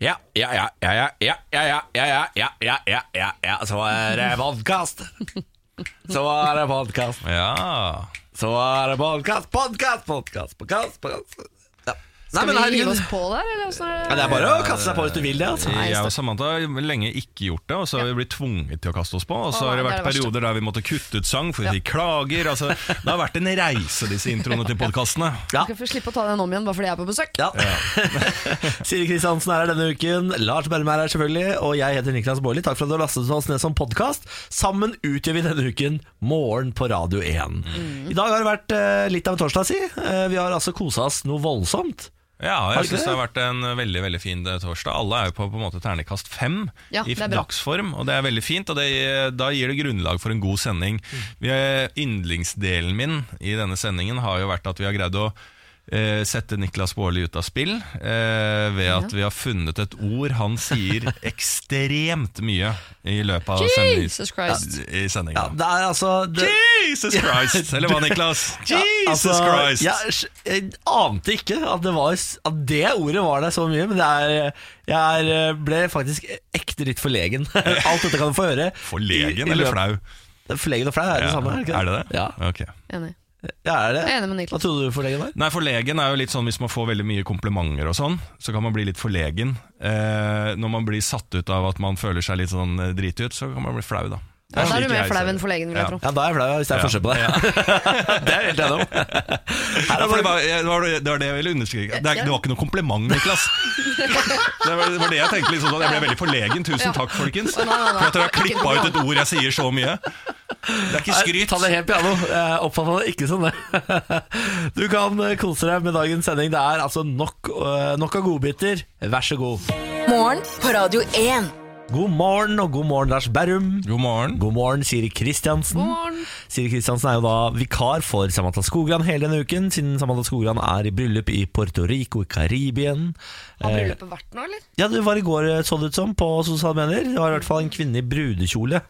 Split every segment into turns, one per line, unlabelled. Ja, ja, ja, ja, ja, ja, ja, ja, ja, ja, ja, ja, ja, ja, så er det podkast. Så er det podkast.
Ja.
Så er det podkast, podkast, podkast, podkast. podkast. Ja. Nei,
Skal
men
vi hive
herregud.
oss på der, eller åssen
Ja,
er
det
det?
er bare å kaste seg på hvis du vil det, altså.
Nei,
Jeg og
stopp.
Samantha har lenge ikke gjort det, og så har vi blitt tvunget til å kaste oss på. Og så
Å,
har det
det er
vært
det verste.
perioder der vi måtte kutte ut sang fordi de klager. Altså, det har vært en reise, disse introene til podkastene.
Ja.
Du skal få slippe å ta den om igjen bare fordi jeg er på besøk.
Ja. Siri Kristiansen er her denne uken. Lars Berrum er her selvfølgelig. Og jeg heter Niklas Baarli. Takk for at du har lastet oss ned som podkast. Sammen utgjør vi denne uken Morgen på Radio 1.
Mm.
I dag har det vært eh, litt av en torsdag, si. Eh, vi har altså kosa oss noe voldsomt.
Ja, og
Har det
jeg
ikke
syns
det?
det har vært en veldig veldig fin eh, torsdag. Alle er jo på, på en måte ternekast fem
Ja,
i
det er bra.
dagsform, og det er veldig fint. Og det, da gir det grunnlag for en god sending.
Mm.
Vi er, yndlingsdelen min i denne sendingen har jo vært at vi har greid å eh, sette Niklas Baarli ut av spill eh, ved at vi har funnet et ord han sier ekstremt mye i løpet av sendingen.
Jesus Christ.
I
Ja,
sendingen.
det er altså det,
Jesus Christ! Eller hva, Niklas? Jesus
altså,
Christ!
Jeg, s- jeg ante ikke at det, var, s- at det ordet var der så mye, men det er, jeg er, eh, ble faktisk ekte litt forlegen. Alt dette kan du få høre.
Forlegen
I- i
eller
løpet-
flau?
Forlegen og flau er det
Ja,
samme. ikke
Er det det?
Ja.
Ok.
Enig.
Ja, er det?
Jeg er enig med Niklas.
Hva trodde du forlegen var?
Nei, forlegen er jo litt sånn Hvis man får veldig mye komplimenter og sånn Så kan man bli litt forlegen eh, Når man blir satt ut av at man føler seg litt sånn eh, drit ut Så kan man bli flau da
Ja, da er
slik
du mer
jeg ser
flau
det.
enn forlegen, vil
Ja.
jeg tro.
Ja, da er jeg flau hvis det er
Ja.
forskjell på det. det er jeg helt enig om. Her
ja,
er
for det,
bare,
var, det, var, det var det jeg ville understreke Det, er- det var ikke noe kompliment, Niklas Det var det, var det jeg tenkte liksom sånn, Jeg ble veldig forlegen, tusen takk folkens
Å, nei, nei, nei.
For at dere har
Ikke
klippet ut et ord jeg sier så mye Det er ikke skryt
Ta det helt piano. Jeg oppfatta det ikke sånn, det. Du kan eh, kose deg med dagens sending. Det er altså nok, eh, nok av godbiter. Vær så god.
Morgen på Radio 1.
God morgen, og god morgen, Lars Berrum.
God morgen
God morgen, Siri Kristiansen.
God morgen.
Siri Kristiansen er jo da vikar for Samantha Skogran hele denne uken, siden Samantha Skogran er i bryllup i Puerto Rico i Karibien.
Eh.
Har bryllupet vært nå, eller?
Ja, det var i går, eh, så det ut som, på sosiale medier. Det var i hvert fall en kvinne i brudekjole.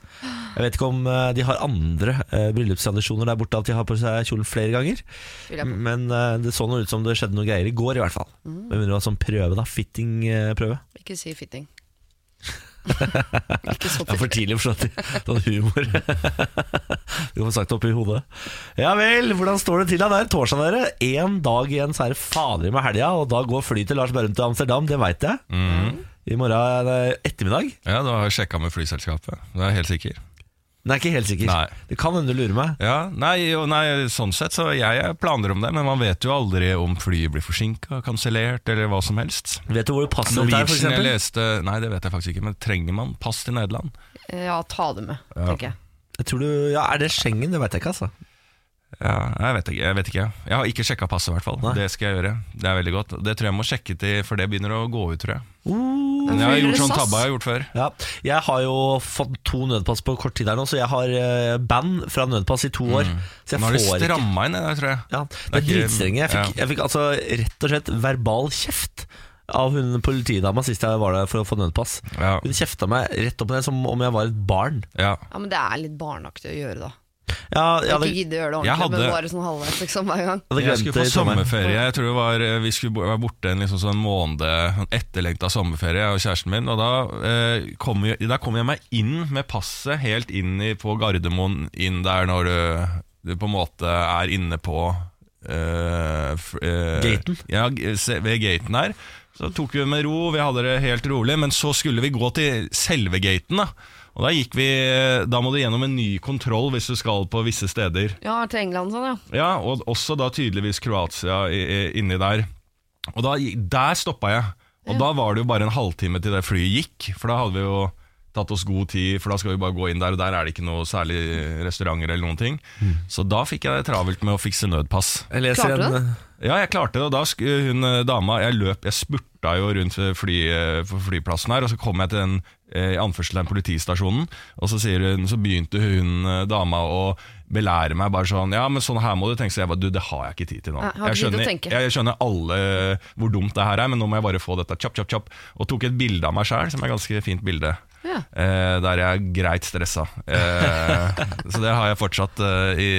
Jeg vet ikke om eh, de har andre eh, bryllupstradisjoner der borte, at de har på seg kjolen flere ganger.
Tviler
Mm.
jeg på.
Men eh, det så noe ut som det skjedde noe greier i går, i hvert fall.
Mm.
Med mindre det var sånn prøve, da. eh, Fitting-prøve.
Ikke si fitting. ikke så
Det er for
fitting.
tidlig å forstå at- sånn humor. Du får sagt det oppi hodet. Ja vel, hvordan står det til da? Det er torsdag, dere. Én dag igjen, så er det fader i meg helga, og da går flyet til Lars Berrum til Amsterdam, det veit jeg.
Mhm.
I morgen eh, ettermiddag.
Ja, du har jeg sjekket med flyselskapet Det er jeg helt sikker
Den er ikke helt sikker.
Nei.
Det kan hende du lurer meg.
Ja, nei, jo, nei, sånn sett så jeg er planer om det, men man vet jo aldri om flyet blir forsinka, kansellert eller hva som helst.
Vet du hvor passet ditt er, for
Norwegian jeg
eksempel?
leste Nei, det vet jeg faktisk ikke, men trenger man pass til Nederland?
Ja, ta det med, tenker jeg.
Jeg tror du, ja, er det Schengen? Det veit jeg ikke, altså.
Ja, jeg vet ikke. Jeg, vet ikke. jeg har ikke sjekka passet, i hvert fall.
Nei.
Det skal jeg gjøre. Det er veldig godt. Det tror jeg må sjekke til, for det begynner å gå ut, tror jeg.
Men
Men jeg har
flyr
gjort
dere
sånn
SAS?
tabbe jeg har gjort før.
Uh, Ja. Jeg har jo fått to nødpass på kort tid her nå, så jeg har eh, band fra nødpass i to år. Så jeg
Mm. Nå har de
får ikke
stramma inn det der, tror jeg.
ja, Det er
Det er ikke-
dritstrenge. Jeg fikk,
ja.
jeg fikk altså rett og slett verbal kjeft av hun politidama sist jeg var der for å få nødpass.
Ja,
Hun kjefta meg rett opp ned som om jeg var et barn.
ja.
Ja, men det er litt barnaktig å gjøre, da.
Ja, jeg hadde,
Ikke gidde å gjøre det
Jeg
ordentlig,
hadde-
men bare sånn halvveis liksom hver gang.
hadde
Jeg
glemt det
skulle få
i sommeren.
sommerferie. Jeg tror det var, eh, Vi skulle bo- være borte en liksom sånn måned, en etterlengta sommerferie, jeg og kjæresten min. Og da eh, kom, jeg, da kom jeg meg inn med passet helt inn i, på Gardermoen, inn der når du, du på en måte er inne på eh, f- eh,
Gaten?
Ja, g- se- ved gaten her. Så tok vi det med ro, vi hadde det helt rolig, men så skulle vi gå til selve gaten. Da Og da gikk vi eh, Da må du gjennom en ny kontroll hvis du skal på visse steder.
Ja, til England sånn, ja.
Ja, og også da tydeligvis Kroatia i- i- inni der. Og da, der stoppa jeg. Og da var det jo bare en halvtime til det flyet gikk, for da hadde vi jo tatt oss god tid, for da skal vi bare gå inn der, og der er det ikke noe særlig restauranter eller noen ting. Så da fikk jeg det travelt med å fikse nødpass.
Mm. Jeg leser
Klarte du
en,
Ja, jeg klarte det, og da sk- hun eh, dama Jeg løp, jeg spurta jo rundt fly, eh, på flyplassen her, og så kom jeg til den eh, i anførselen den politistasjonen, og så, sier hun, så begynte hun eh, dama å belære meg bare sånn Ja, men sånn her må du tenke, så jeg bare Du, det har jeg ikke tid til nå.
Nei, har
jeg,
ikke tid til å
skjønner,
tenke.
jeg skjønner alle eh, hvor dumt det her er, men nå må jeg bare få dette kjapp, kjapp, kjapp. Og tok et bilde av meg sjæl, som er et ganske fint bilde.
Ja.
Eh, der jeg er greit stressa. Eh, så det har jeg fortsatt eh, i,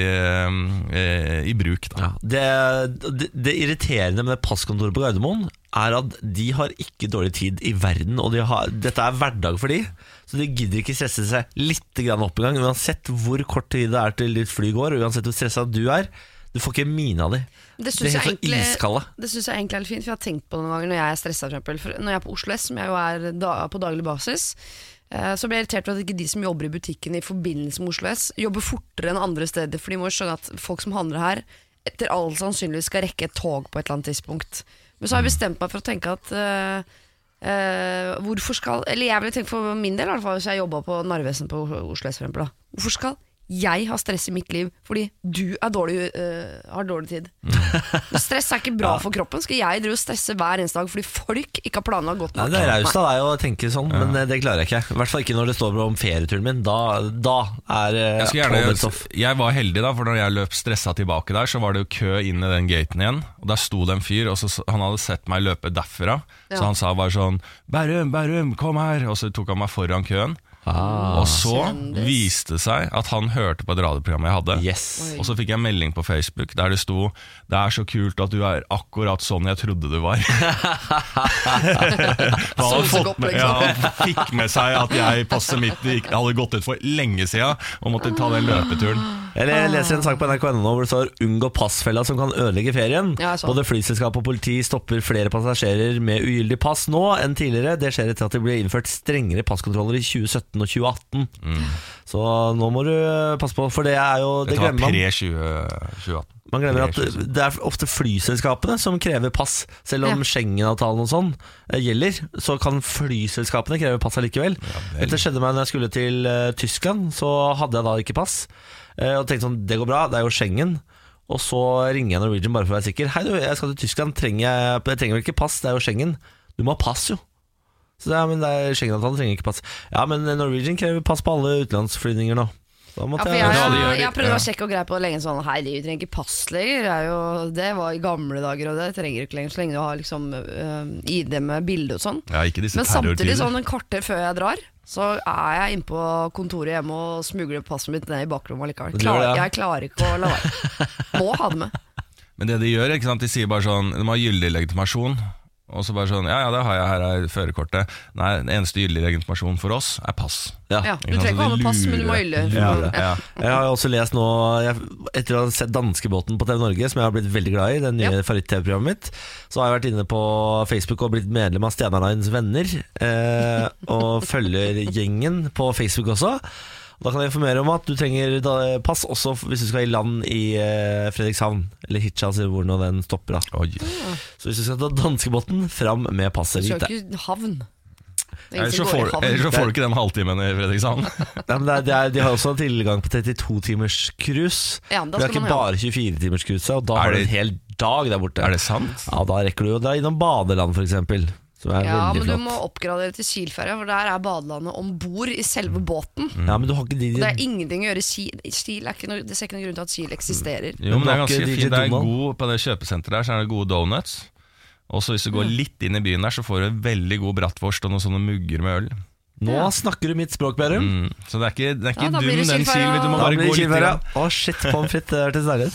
eh, i bruk. Da.
Ja, det, det, det irriterende med det passkontoret på Gardermoen er at de har ikke dårlig tid i verden, og de har, dette er hverdag for de, så de gidder ikke stresse seg litt grann opp engang, uansett hvor kort tid det er til ditt fly går, og uansett hvor stressa du er. Du får ikke mine av de.
Det
De er
syns jeg,
helt så
egentlig-
iskalde.
det synes jeg egentlig er litt fint, for jeg har tenkt på det noen ganger når jeg er stressa. For eksempel. for når jeg er på Oslo S, som jeg jo er da, på daglig basis, eh, så blir jeg irritert over at ikke de som jobber i butikken i forbindelse med Oslo S, jobber fortere enn andre steder. For de må jo skjønne at folk som handler her, etter all sannsynlighet skal rekke et tog på et eller annet tidspunkt. Men så har
Mm.
jeg bestemt meg for å tenke at eh, eh, hvorfor skal Eller jeg ville tenkt for min del, i hvert fall, hvis jeg jobba på Narvesen på Oslo S, for eksempel, da. Hvorfor skal jeg har stress i mitt liv fordi du er dårlig, øh, har dårlig tid. Stress er ikke bra for kroppen. Skal jeg drive og stresse hver eneste dag fordi folk ikke har planlagt godt
Nei,
nok?
det er raust av deg å tenke sånn, men eh, det klarer jeg ikke. I hvert fall ikke når det står om ferieturen min. Da, da er
Jeg, skulle
påmeldt
gjerne,
off.
jeg var heldig, da, for når jeg løp stressa tilbake der, så var det jo kø inn i den gaten igjen. Og Der sto det en fyr, og så, han hadde sett meg løpe derfra.
Ja.
Så han sa bare sånn 'Bærum, Bærum, kom her!' Og så tok han meg foran køen. og så
Kjendis.
viste det seg at han hørte på et radioprogram jeg hadde.
Yes.
Og så fikk jeg en melding på Facebook der det sto 'Det er så kult at du er akkurat sånn jeg trodde du var'. For han hadde
Solsøk
fått med,
opplegg,
ja, han fikk med seg at jeg passet mitt gikk- hadde gått ut for lenge siden og måtte ta den løpeturen.
Eller jeg leser en sak på nrk.no hvor det står 'Unngå passfella som kan ødelegge ferien'.
Ja, jeg så den.
Både flyselskap og politi stopper flere passasjerer med ugyldig pass nå enn tidligere. Det skjer etter at det ble innført strengere passkontroller i 2017 og 2018.
Mm.
Så nå må du passe på, for det er jo Det
Dette var
glemmer man.
pre-2018.
Man glemmer at
Pre-
det er ofte flyselskapene som krever pass. Selv om
Ja.
Schengen-avtalen og sånn eh, gjelder, så kan flyselskapene kreve pass allikevel.
vel.
Dette skjedde meg når jeg skulle til eh, Tyskland, så hadde jeg da ikke pass. Eh, og tenkte sånn, det går bra, det er jo Schengen. Og så ringer jeg Norwegian bare for å være sikker. Hei du, jeg skal til Tyskland, trenger jeg, jeg trenger vel ikke pass, det er jo Schengen. Du må ha pass jo. Så ja, men det er Schengen-avtalen trenger ikke pass. Ja, men Norwegian krever pass på alle utenlandsflyvninger nå. Da
Ja,
måtte
for
jeg...
jeg,
Ja, det gjør
jeg,
de.
prøvde å
Ja.
være kjekk og grei på det lenge sånn Hei, de trenger ikke pass lenger. Det er jo, det var i gamle dager, og det trenger du ikke lenger så lenge du har liksom, øh, ID med bilde og sånn.
Ja, ikke disse
Men samtidig,
terrortider.
sånn en kvarter før jeg drar, så er jeg inne på kontoret hjemme og smugler passet mitt ned i bakrommet likevel.
Du gjør
Klar,
det, ja.
jeg klarer ikke å la være. Må ha det med.
Men det de gjør, ikke sant, de sier bare sånn De har gyldig legitimasjon Og så bare sånn, ja ja det har jeg, her er førerkortet Nei, den eneste gyldig legitimasjon for oss er pass
Ja, du
Ikke sant,
trenger ikke
så
ha
de
med pass, men du må
lurer.
hylle.
Lurer, ja.
Jeg har jo også lest nå, jeg, etter å ha sett danskebåten på TV Norge, som jeg har blitt veldig glad i, det nye favoritt-TV-programmet mitt, så har jeg vært inne på Facebook og blitt medlem av Steinar Lines venner, eh, og følger gjengen på Facebook også. Da kan jeg informere om at du trenger da, pass også hvis du skal i land i eh, Fredrikshavn, eller Hitcha, altså hvor nå den stopper. Da.
Oi.
Mm,
Så hvis du skal ta danskebåten, fram med passet.
Du
Vit
skal
det.
jo ikke havn. Det er ingen
Ellers
som
så,
går i
får,
havn.
ellers så får du ikke den halvtimen i Fredrikshavn
Nei, men det er, det er, de har også tilgang på 32-timers cruise.
Ja, da
det er
skal
ikke
man jo-
bare 24-timers cruise, og da
Er
har du
det-
en hel dag der borte.
Er det sant?
Ja, da rekker du jo deg innom badeland, for eksempel. Som er
Ja, men
veldig
du
flott.
må oppgradere til Kielferja, for der er badelandet om bord i selve båten.
Ja, men du har ikke de,
Og det er ingenting å gjøre i Kiel. Kiel er ikke noe, det ser ikke noen grunn til at Kiel eksisterer.
Mm.
Jo, men det er
Bakke
ganske
DJ
fint Det er
Donald.
god, på det kjøpesenteret der så er det gode donuts Og så hvis du går litt inn i byen der Så får du en veldig god brattvorst og noen sånne mugger med øl
Nå snakker du mitt språk, Bærum.
mm. Så det er ikke, det er ikke
Ja, da blir
dum
det
den
Kielferja.
Silvi Du må
Da
bare
blir
gå
det
litt
Kielferja.
grann.
Å, shit, pommes frites det er til Sverre.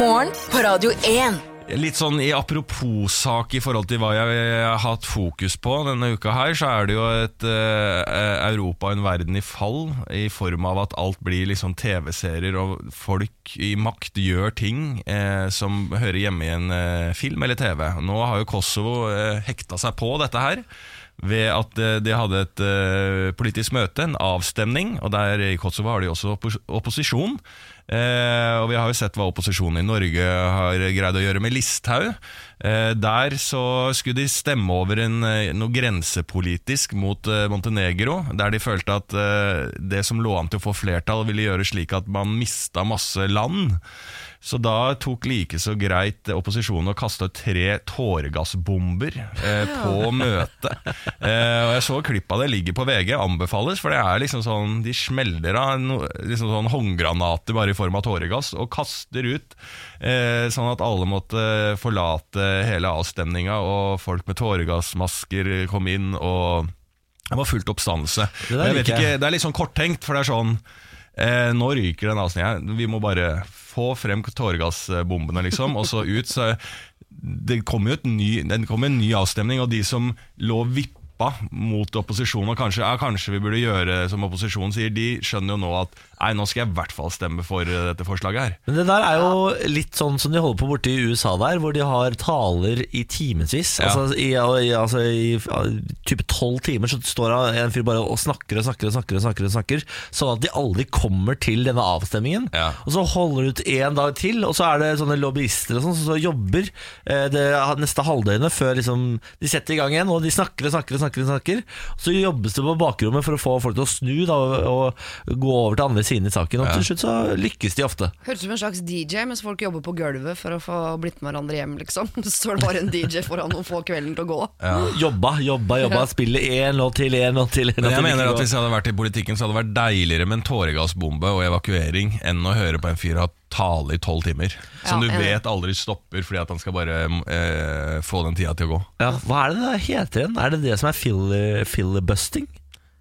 Morgen på Radio 1.
Litt sånn i apropos-sak i forhold til hva jeg har hatt fokus på denne uka her, så er det jo et eh, Europa og en verden i fall, i form av at alt blir liksom TV-serier, og folk i makt gjør ting eh, som hører hjemme i en eh, film eller TV. Nå har jo Kosovo eh, hekta seg på dette her. Ved at eh, de hadde et eh, politisk møte, en avstemning, og der i Kosovo har de også oppos opposisjon. Eh, og vi har jo sett hva opposisjonen i Norge har greid å gjøre med Listhaug. Eh, der så skulle de stemme over en, eh, noe grensepolitisk mot eh, Montenegro, der de følte at eh, det som lå an til å få flertall, ville gjøre slik at man mista masse land. Så da tok like så greit opposisjonen og kasta tre tåregassbomber eh, på møtet. Eh, og jeg så klipp av det ligger på VG, anbefales, for det er liksom sånn de smeller av no, liksom sånn håndgranater bare i form av tåregass og kaster ut, eh, sånn at alle måtte forlate hele avstemninga, og folk med tåregassmasker kom inn og Det var fullt oppstandelse.
der
Og jeg vet
liker jeg.
ikke, det er litt sånn korttenkt, for det er sånn eh, Nå ryker den avsnittet her. Vi må bare få frem tåregassbombene, liksom, og så ut. Så det kom jo et ny, det kom en ny avstemning, og de som lå og vippa mot opposisjonen, og kanskje, ja, kanskje vi burde gjøre som opposisjonen sier, de skjønner jo nå at nei, nå skal jeg i hvert fall stemme for eh, dette forslaget her.
Men det der er jo litt sånn som de holder på borte i USA der, hvor de har taler i timevis.
Ja.
Altså, i, i- altså i ja, typ tolv timer så står en fyr bare og snakker og snakker og snakker, og snakker, og snakker sånn at de aldri kommer til denne avstemningen.
Ja.
Og så holder de ut én dag til, og så er det sånne lobbyister og sånn som så jobber eh, det neste halvdøgnet før liksom, de setter i gang igjen, og de snakker og snakker og snakker. og snakker Og så jobbes det på bakrommet for å få folk til å snu da, og, og gå over til andre siden i saken. Og til slutt så lykkes de ofte.
Hørtes ut som en slags DJ mens folk jobber på gulvet for å få blitt med hverandre hjem, liksom. Så står det bare en DJ foran og får kvelden til å gå.
Jobba, jobba, jobba. Spille én låt til, én låt til. En
Men
låt
jeg
til,
mener
ikke
at
gå.
Hvis jeg hadde vært i politikken, så hadde det vært deiligere med en tåregassbombe og evakuering enn å høre på en fyr ha tale i tolv timer. Som
Ja,
du
enig.
vet aldri stopper fordi at han skal bare eh, få den tida til å gå.
ja, Hva er det det heter igjen? Er det det som er filler, fillerbusting?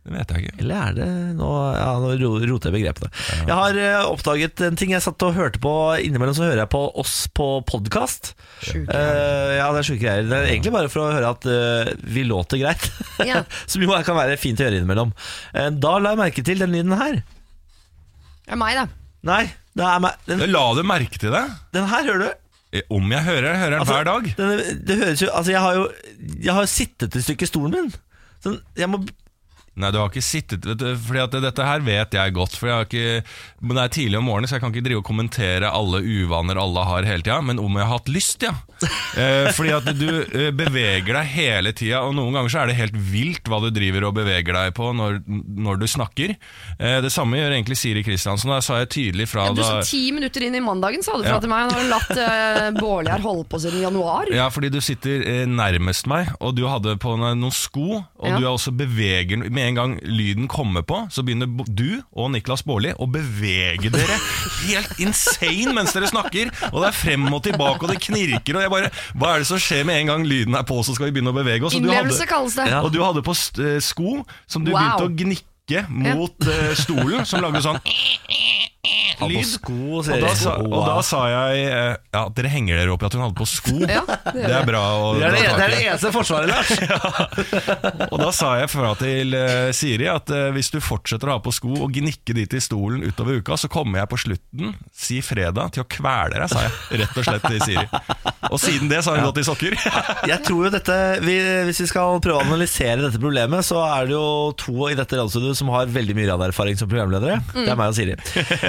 Det vet jeg ikke.
Eller er det Nå, ja, nå ro- roter jeg begrepene. Jeg har eh, oppdaget en ting jeg satt og hørte på. Innimellom så hører jeg på oss på podkast.
Sjukt.
ja, det er sjuke greier. Det er egentlig bare for å høre at eh, vi låter greit.
Ja.
Som jo kan være fint å gjøre innimellom. Eh, da la jeg merke til den lyden her.
Det er meg, da.
Nei, det er meg. Den,
La du merke til det?
den her, hører du?
Eh, Om jeg hører det, hører den
Altså,
hver dag.
denne- det høres jo Altså, jeg har jo Jeg har sittet et stykke i stolen min. Sånn, jeg må
Nei, du har ikke sittet vet du, Fordi at dette her vet jeg godt. For jeg har ikke, men det er tidlig om morgenen, så jeg kan ikke drive og kommentere alle uvaner alle har hele tida. Men om jeg har hatt lyst, ja. Eh, fordi at du eh, beveger deg hele tida, og noen ganger så er det helt vilt hva du driver og beveger deg på når, når du snakker. Eh, det samme gjør egentlig Siri Kristiansen. Da sa jeg tydelig fra
Du
da
sa ti minutter inn i mandagen, sa du fra
Ja.
til meg. Nå har du latt uh, Bårliar holde på siden januar.
Ja, fordi du sitter eh, nærmest meg, og du hadde på deg noen sko, og
Ja.
du er også beveger Med en gang lyden kommer på, så begynner bo- du og Niklas Baarli å bevege dere helt insane mens dere snakker, og det er frem og tilbake, og det knirker, og jeg bare Hva er det som skjer med en gang lyden er på, så skal vi begynne å bevege oss? Og du
Innlevelse
hadde,
kalles det.
altså, Ja.
og du hadde på st- eh, sko som du
Wow.
begynte å gnikke mot eh, stolen, som lagde sånn
på
lyd.
sko,
Og
ser
da,
jeg.
sa, og da sa jeg eh, ja, at dere henger dere opp i at hun hadde på sko.
Ja, det
det er bra å
det er det,
dra tak
det
i.
er det eneste forsvaret, Lars.
Og da sa jeg fra til eh, Siri at eh, hvis du fortsetter å ha på sko og gnikke dit i stolen utover uka, så kommer jeg på slutten, si fredag, til å kvele deg, sa jeg rett og slett til Siri. Og siden det så har hun gått i sokker.
Jeg tror jo dette vi, Hvis vi skal prøve å analysere dette problemet, så er det jo to i dette landsstudioet som har veldig mye radioerfaring som programledere. Det er meg og Siri.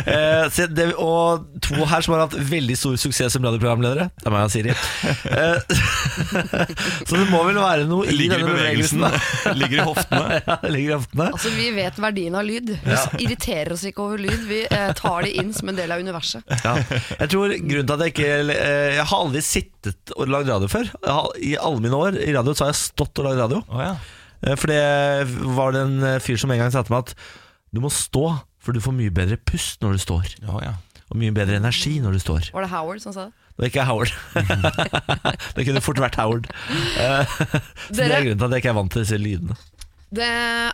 Eh, så det, og to her som har hatt veldig stor suksess som radioprogramledere. Det er meg og Siri. Eh, så det må vel være noe i
Ligger i
denne bevegelsen.
bevegelsen, ligger i hoftene.
Ja, det ligger i hoftene.
Altså, Vi vet verdien av lyd. Vi irriterer oss ikke over lyd. Vi eh, tar det inn som en del av universet.
Ja. Jeg tror grunnen til at jeg ikke eh, Jeg har aldri sittet og lagd radio før. Jeg har, I alle mine år i radio så har jeg stått og lagd radio.
Å ja.
Eh, For det var det en eh, fyr som en gang sa til meg at du må stå, for du får mye bedre pust når du står.
Å ja.
Og mye bedre energi når du står.
Var det Howard som sa det?
Det er ikke Howard. det kunne fort vært Howard. Eh, Så det er
Dere,
grunnen til at jeg ikke er vant til disse lydene.
det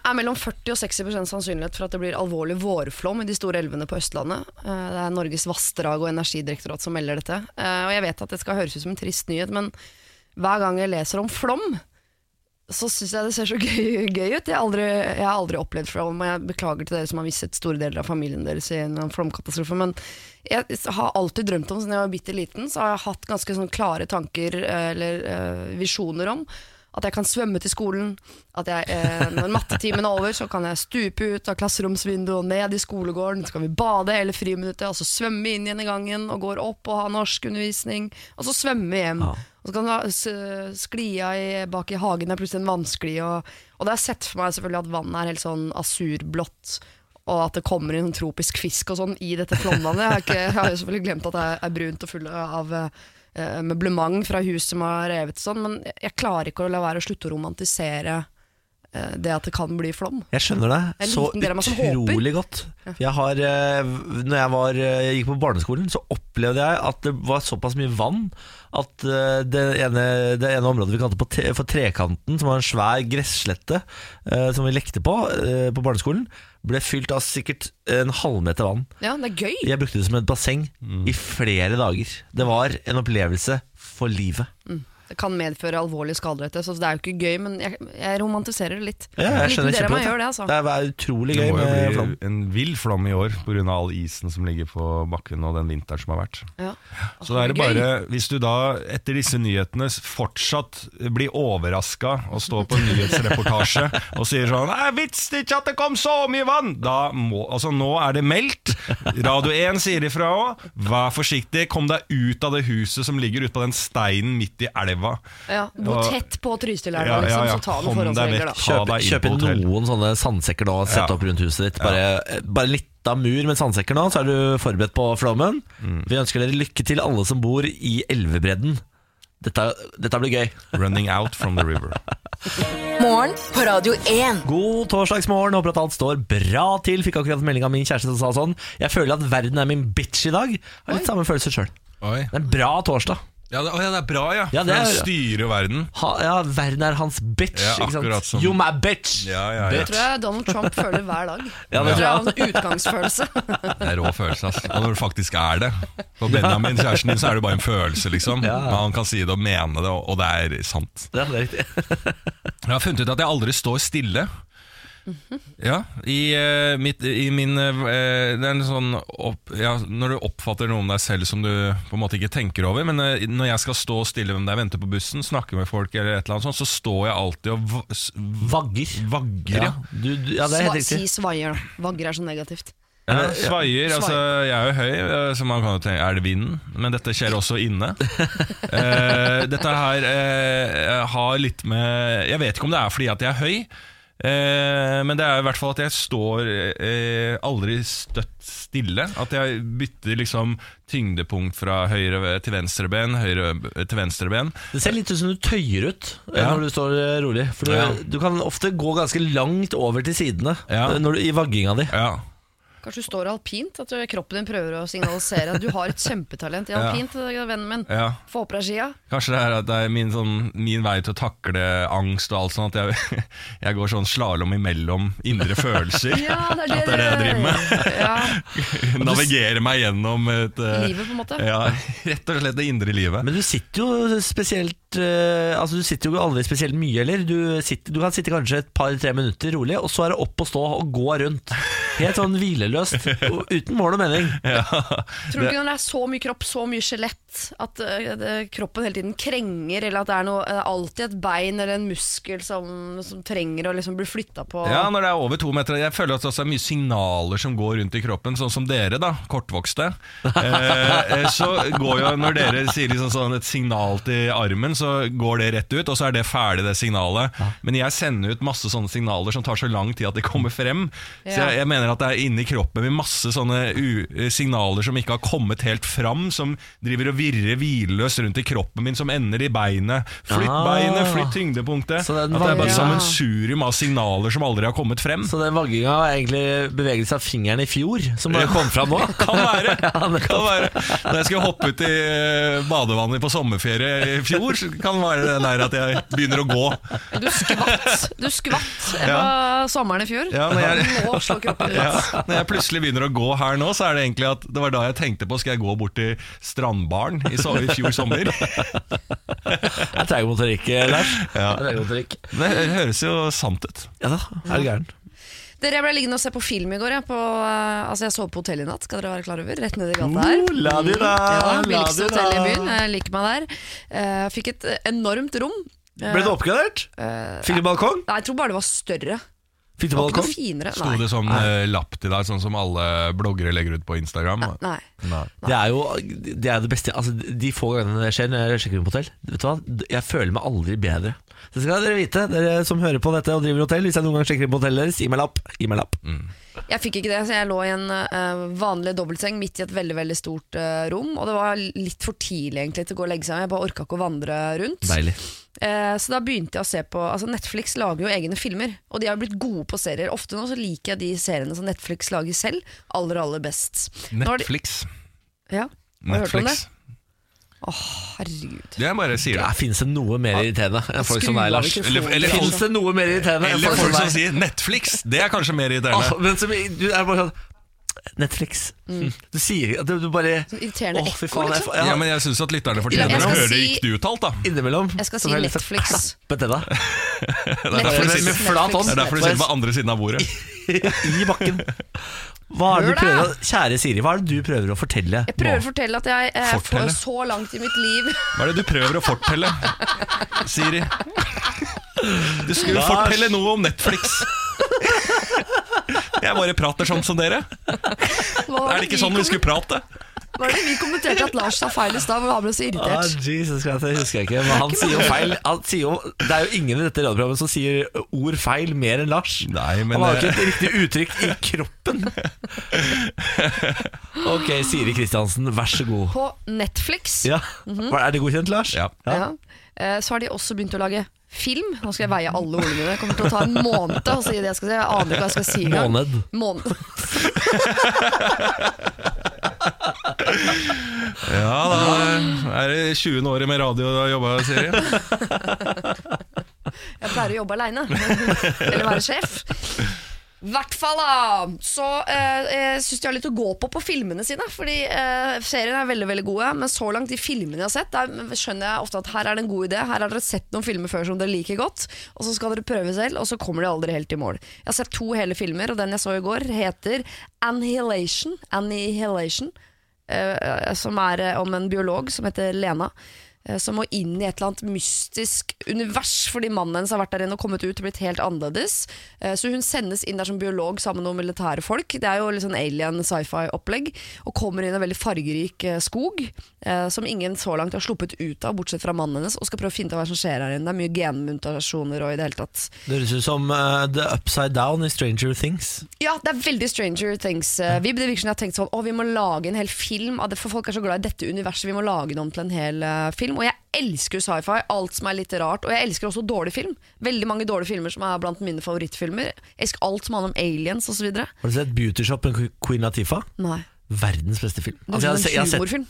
er mellom 40 og 60 sannsynlighet for at det blir alvorlig vårflom i de store elvene på Østlandet. Eh, Det er Norges vassdrag og energidirektorat som melder dette. Eh, Og jeg vet at det skal høres ut som en trist nyhet, men hver gang jeg leser om flom, så syns jeg det ser så gøy, gøy ut. Jeg har, aldri, jeg har aldri opplevd flom, og jeg beklager til dere som har mistet store deler av familien deres i en flomkatastrofe, men jeg har alltid drømt om, siden jeg var bitte liten, så har jeg hatt ganske sånn klare tanker eh, eller eh, visjoner om at jeg kan svømme til skolen, at jeg, eh, når mattetimen er over, så kan jeg stupe ut av klasseromsvinduet og ned i skolegården, så kan vi bade hele friminuttet, og så svømme inn igjen i gangen, og går opp og ha norskundervisning, og så svømme hjem.
Ja.
Og så kan du ha s- sklia i, bak i hagen, er plutselig en vannskli. Og, og det har jeg sett for meg selvfølgelig at vannet er helt sånn asurblått, og at det kommer inn sånn tropisk fisk og sånn i dette flomvannet. Jeg har, ikke, jeg har jo selvfølgelig glemt at det er, er brunt og full av eh, eh, møblement fra hus som har revet og sånn, men jeg klarer ikke å la være å slutte å romantisere eh, det at det kan bli flom.
Jeg skjønner det
Det er en
så
liten del av meg som
utrolig godt. Jeg har, eh, når jeg var, eh, gikk på barneskolen, så opplevde jeg at det var såpass mye vann at eh, det ene, det ene området vi kalte på te- for Trekanten, som var en svær gresslette eh, som vi lekte på eh, på barneskolen, ble fylt av sikkert en halvmeter vann.
Ja, det er gøy.
Jeg brukte det som et basseng
Mm.
i flere dager. Det var en opplevelse for livet.
Det kan medføre alvorlig skaderette, så det er jo ikke gøy, men jeg, jeg romantiserer det litt.
Ja,
En
jeg skjønner
liten del av meg
kjempegodt.
gjør det, altså.
Det er- er utrolig
Det
gøy
må
med
jo
flom.
bli en vill flom i år pga. all isen som ligger på bakken og den vinteren som har vært.
Ja.
Så da er det
Gøy.
bare, hvis du da etter disse nyhetene fortsatt blir overraska og står på en nyhetsreportasje og sier sånn Nei, vits det ikke at det kom så mye vann! Da må, altså Nå er det meldt. Radio 1 sier ifra òg. Vær forsiktig. Kom deg ut av det huset som ligger ute på den steinen midt i elva.
Ja, Bo
Og-
tett på Trysilelva,
Ja, ja,
liksom,
ja.
så ta noen
Kom deg
forholdsregler,
vekk.
da.
Ta
Kjøp,
deg inn
kjøp
på hotell.
noen sånne sandsekker nå og sette
Ja.
opp rundt huset ditt. Bare, eh, bare litt av mur med sandsekker nå, så er du forberedt på flommen.
Mm.
Vi ønsker dere lykke til, alle som bor i elvebredden. Dette, dette blir gøy.
Running out from the river.
Morgen på Radio 1.
God torsdagsmorgen, håper at alt står bra til. Fikk akkurat en melding av min kjæreste som sa sånn. Jeg føler at verden er min bitch i dag. Har litt samme følelse sjøl.
Oi.
Det er en bra torsdag.
Ja, det, å, ja, det er bra, ja.
Ja, det
For
er-
den styrer verden.
Ha, ja, verden er hans bitch.
Ja,
ikke sant?
akkurat som-
You my bitch!
Ja, ja, ja.
Det tror jeg Donald Trump føler hver dag.
Ja, det
det tror jeg
tror
er en utgangsfølelse.
Det er rå følelse, ass. Og når det faktisk er det. For Benjamin, kjæresten din, så er det bare en følelse, liksom. Men han kan si det og mene det, og- og det er sant.
Ja, det er riktig.
Jeg har funnet ut at jeg aldri står stille. Ja, i, eh, mitt, i min eh, Det er en sånn opp, ja, Når du oppfatter noe om deg selv som du på en måte ikke tenker over, men eh, når jeg skal stå stille hvem det er, venter på bussen, snakke med folk, eller et eller annet sånt, så står jeg alltid og v- s-
Vagger.
vagger.
Ja,
Ja.
du, du, ja, det er
Sva,
helt
si
riktig.
svaier, da. Vagger er så negativt.
Ja, svaier, altså jeg er jo høy, eh, så man kan jo tenke, er det vinden? Men dette skjer også inne. Eh, dette her eh, har litt med, jeg vet ikke om det er fordi at jeg er høy, eh, men det er i hvert fall at jeg står eh, aldri støtt stille. At jeg bytter liksom tyngdepunkt fra høyre til venstre ben, høyre til venstre ben.
Det ser litt ut som du tøyer ut eh,
Ja.
når du står eh, rolig. For du,
Ja.
du kan ofte gå ganske langt over til sidene
Ja.
eh, når du, i vagginga di.
Ja,
Kanskje du står alpint? At du- kroppen din prøver å signalisere at du har et kjempetalent i
Ja.
alpint, vennen min.
ja.
Få opp deg skia.
Kanskje det er, at det er min, sånn, min vei til å takle angst og alt sånn at jeg, jeg går sånn slalåm imellom indre følelser.
Ja, det er det,
At det er det jeg driver med.
Ja,
Navigere meg gjennom et eh,
livet, på en måte.
Ja, rett og slett det indre livet.
Men du sitter jo spesielt eh, Altså du sitter jo aldri spesielt mye heller. Du, sitter, du kan sitte kanskje et par-tre minutter rolig, og så er det opp og stå og gå rundt. Helt sånn hvileløst, og uten mål og mening.
Ja.
Tror du ikke når det er så mye kropp, så mye skjelett, at eh, det- kroppen hele tiden krenger, eller at det er noe, eh, alltid et bein eller en muskel som, som trenger å liksom bli flytta på?
ja, når det er over to meter Jeg føler at det også er mye signaler som går rundt i kroppen, sånn som dere, da, kortvokste. Eh, eh, så går jo, når dere sier liksom sånn et signal til armen, så går det rett ut, og så er det ferdig, det signalet. Men jeg sender ut masse sånne signaler som tar så lang tid at de kommer frem. Så
Ja.
jeg, jeg mener at det er inni kroppen med masse sånne u eh, signaler som ikke har kommet helt fram, som driver og virrer hvilløst rundt i kroppen min, som ender i beinet. Flytt
Ah.
beinet, flytt tyngdepunktet.
Så det er
At
den
det er bare
vanlige-
som en surium av signaler som aldri har kommet frem.
Så den vagginga var egentlig bevegelse av fingeren i fjor, som bare kom fram nå.
Kan være. kan være Da jeg skulle hoppe ut i eh, badevannet på sommerferie i fjor, så kan det være det der at jeg begynner å gå.
Du skvatt, du skvatt eh, på sommeren i fjor.
Ja, når jeg,
Nå slår kroppen ut.
ja, når jeg plutselig begynner å gå her nå, så er det egentlig at det var da jeg tenkte på skal jeg gå bort til strandbaren i, so i fjor sommer.
Det er Treigmotorikk, eh, Lars. Det
Ja.
er Treigmotorikk.
Det høres jo sant ut.
Ja da, er du gæren.
Dere, jeg ble liggende og se på film i går. Jeg, på, eh, altså jeg sov på hotell i natt, skal dere være klar over. Rett nedi gata
Uh,
her. Mm.
Oh, la de da,
Ja,
la
Billigste
de da.
hotell i byen. Jeg liker meg der. Eh, fikk et eh, enormt rom. Eh,
Ble du oppgradert? Fikk du balkong?
Nei, jeg tror bare det var større.
Fikk
Det
du
var ikke
balkong?
noe finere.
Sto det sånn eh, lapp til deg, sånn som alle bloggere legger ut på Instagram?
Nei. Nei.
Det er jo det, er det beste altså, De få gangene det skjer når jeg sjekker inn på hotell Vet du hva? Jeg føler meg aldri bedre Så skal dere vite, dere som hører på dette og driver hotell Hvis jeg noen gang sjekker inn på hotellet deres, gi meg lapp Gi meg lapp
Mm,
Jeg fikk ikke det, så jeg lå i en eh, vanlig dobbeltseng midt i et veldig veldig stort eh, rom. Og det var litt for tidlig egentlig til å gå og legge seg. Jeg bare orka ikke å vandre rundt.
Deilig
Eh, Så da begynte jeg å se på altså Netflix lager jo egne filmer, og de har blitt gode på serier. Ofte nå så liker jeg de seriene som Netflix lager selv, aller, aller best. Nå har de,
Netflix.
ja, har du hørt om det?
Netflix.
Herregud.
Jeg bare sier
Ja,
det.
Fins det noe mer irriterende enn folk som
Skru
deg,
av
Lars?
mikrofonen,
liksom Eller- eller-
Fins det noe mer irriterende enn
Eller folk som
deg?
sier 'Netflix'. Det er kanskje mer
Åh,
irriterende.
men som, du er bare sånn Netflix. Du sier du, du bare
Sånn Mm. irriterende
Åh, fy
ekko,
faen, jeg
liksom.
får-
Ja,
ja,
men jeg syns at lytterne
Ja,
fortjener
jeg
å
skal
høre det
si-
riktig uttalt, da.
Innimellom
Jeg skal
så får jeg
si
sånn lyst til å
Netflix.
klappe til deg.
Det er derfor de
Netflix.
sitter-
Med flat hånd.
det er derfor de sitter på
Netflix.
andre siden av bordet.
i bakken. Hva er det du
Hør da!
prøver å, kjære Siri, hva er det du prøver å fortelle?
Jeg prøver å
nå?
fortelle at jeg eh,
Fortelle.
får så langt i mitt liv
Hva er det du prøver å fortelle, Siri? Du skulle
Lars.
fortelle noe om Netflix. Jeg bare prater sånn som dere.
Hva var
Er det ikke sånn
vi
vi skulle prate?
kom- Hva er det vi kommenterte at Lars sa feil i stad? hvor Han ble så
Ah,
irritert.
Jesus Christ, det husker jeg ikke. Men han sier jo feil. Han sier jo, det er jo ingen i dette radioprogrammet som sier ord feil mer enn Lars.
Nei, men eh,
han har jo
det-
ikke et riktig uttrykk i kroppen. Ok, Siri Kristiansen, vær så god.
På Netflix
Ja.
Mhm.
Hva- Er det godkjent, Lars?
Ja.
ja. Eh, Så har de også begynt å lage film. Nå skal jeg veie alle ordene mine. Det kommer til å ta en måned å si det jeg skal si. Jeg aner ikke hva jeg skal si. engang.
Måned.
Måned.
Ja, da er det 20. året med radio du har jobba, Siri.
Jeg pleier å jobbe aleine. Eller være sjef. I hvert fall, da! Så eh, jeg syns de har litt å gå på på filmene sine. Fordi eh, seriene er veldig veldig gode, men så langt de filmene jeg har sett, der skjønner jeg ofte at her er det en god idé. Her har dere sett noen filmer før som dere liker godt, og så skal dere prøve selv, og så kommer de aldri helt i mål. Jeg har sett to hele filmer, og den jeg så i går, heter Annihilation. Annihilation eh, som er eh, om en biolog som heter Lena. eh, Som må inn i et eller annet mystisk univers fordi mannen hennes har vært der inne og kommet ut og blitt helt annerledes. Eh, Så hun sendes inn der som biolog sammen med noen militære folk. Det er jo litt sånn alien sci-fi-opplegg. Og kommer inn i en veldig fargerik eh, skog eh, som ingen så langt har sluppet ut av, bortsett fra mannen hennes, og skal prøve å finne ut hva som skjer her inne. Det er mye genmutasjoner og i det hele tatt.
Det høres ut som eh, The Upside Down i Stranger Things.
Ja, det er veldig Stranger Things. eh, Vi, det virker som jeg har tenkt sånn, å, vi må lage en hel film av det, for folk er så glad i dette universet, vi må lage det om til en hel eh, film. Og jeg elsker jo sci-fi, alt som er litt rart, og jeg elsker også dårlig film. Veldig mange dårlige filmer som er blant mine favorittfilmer. Jeg elsker alt som handler om aliens og så videre.
Har du sett Beauty Shop med Queen Latifah?
Nei.
Verdens beste film.
Det
Altså, jeg
er
har se-
som
jeg har
en
sett-
humorfilm.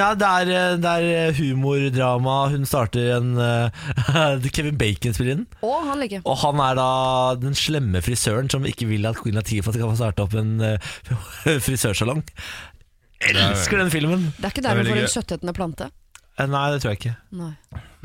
Ja, det er, eh, det er humordrama. Hun starter en eh, Kevin Bacon spiller den.
Å, han liker.
Og han er da den slemme frisøren som ikke vil at Queen Latifah skal få starte opp en eh, frisørsalong. Elsker den filmen!
Det er ikke
Det er
der
veldig
vi får en
gøy.
17. plante.
Eh, Nei, det tror jeg ikke.
Nei.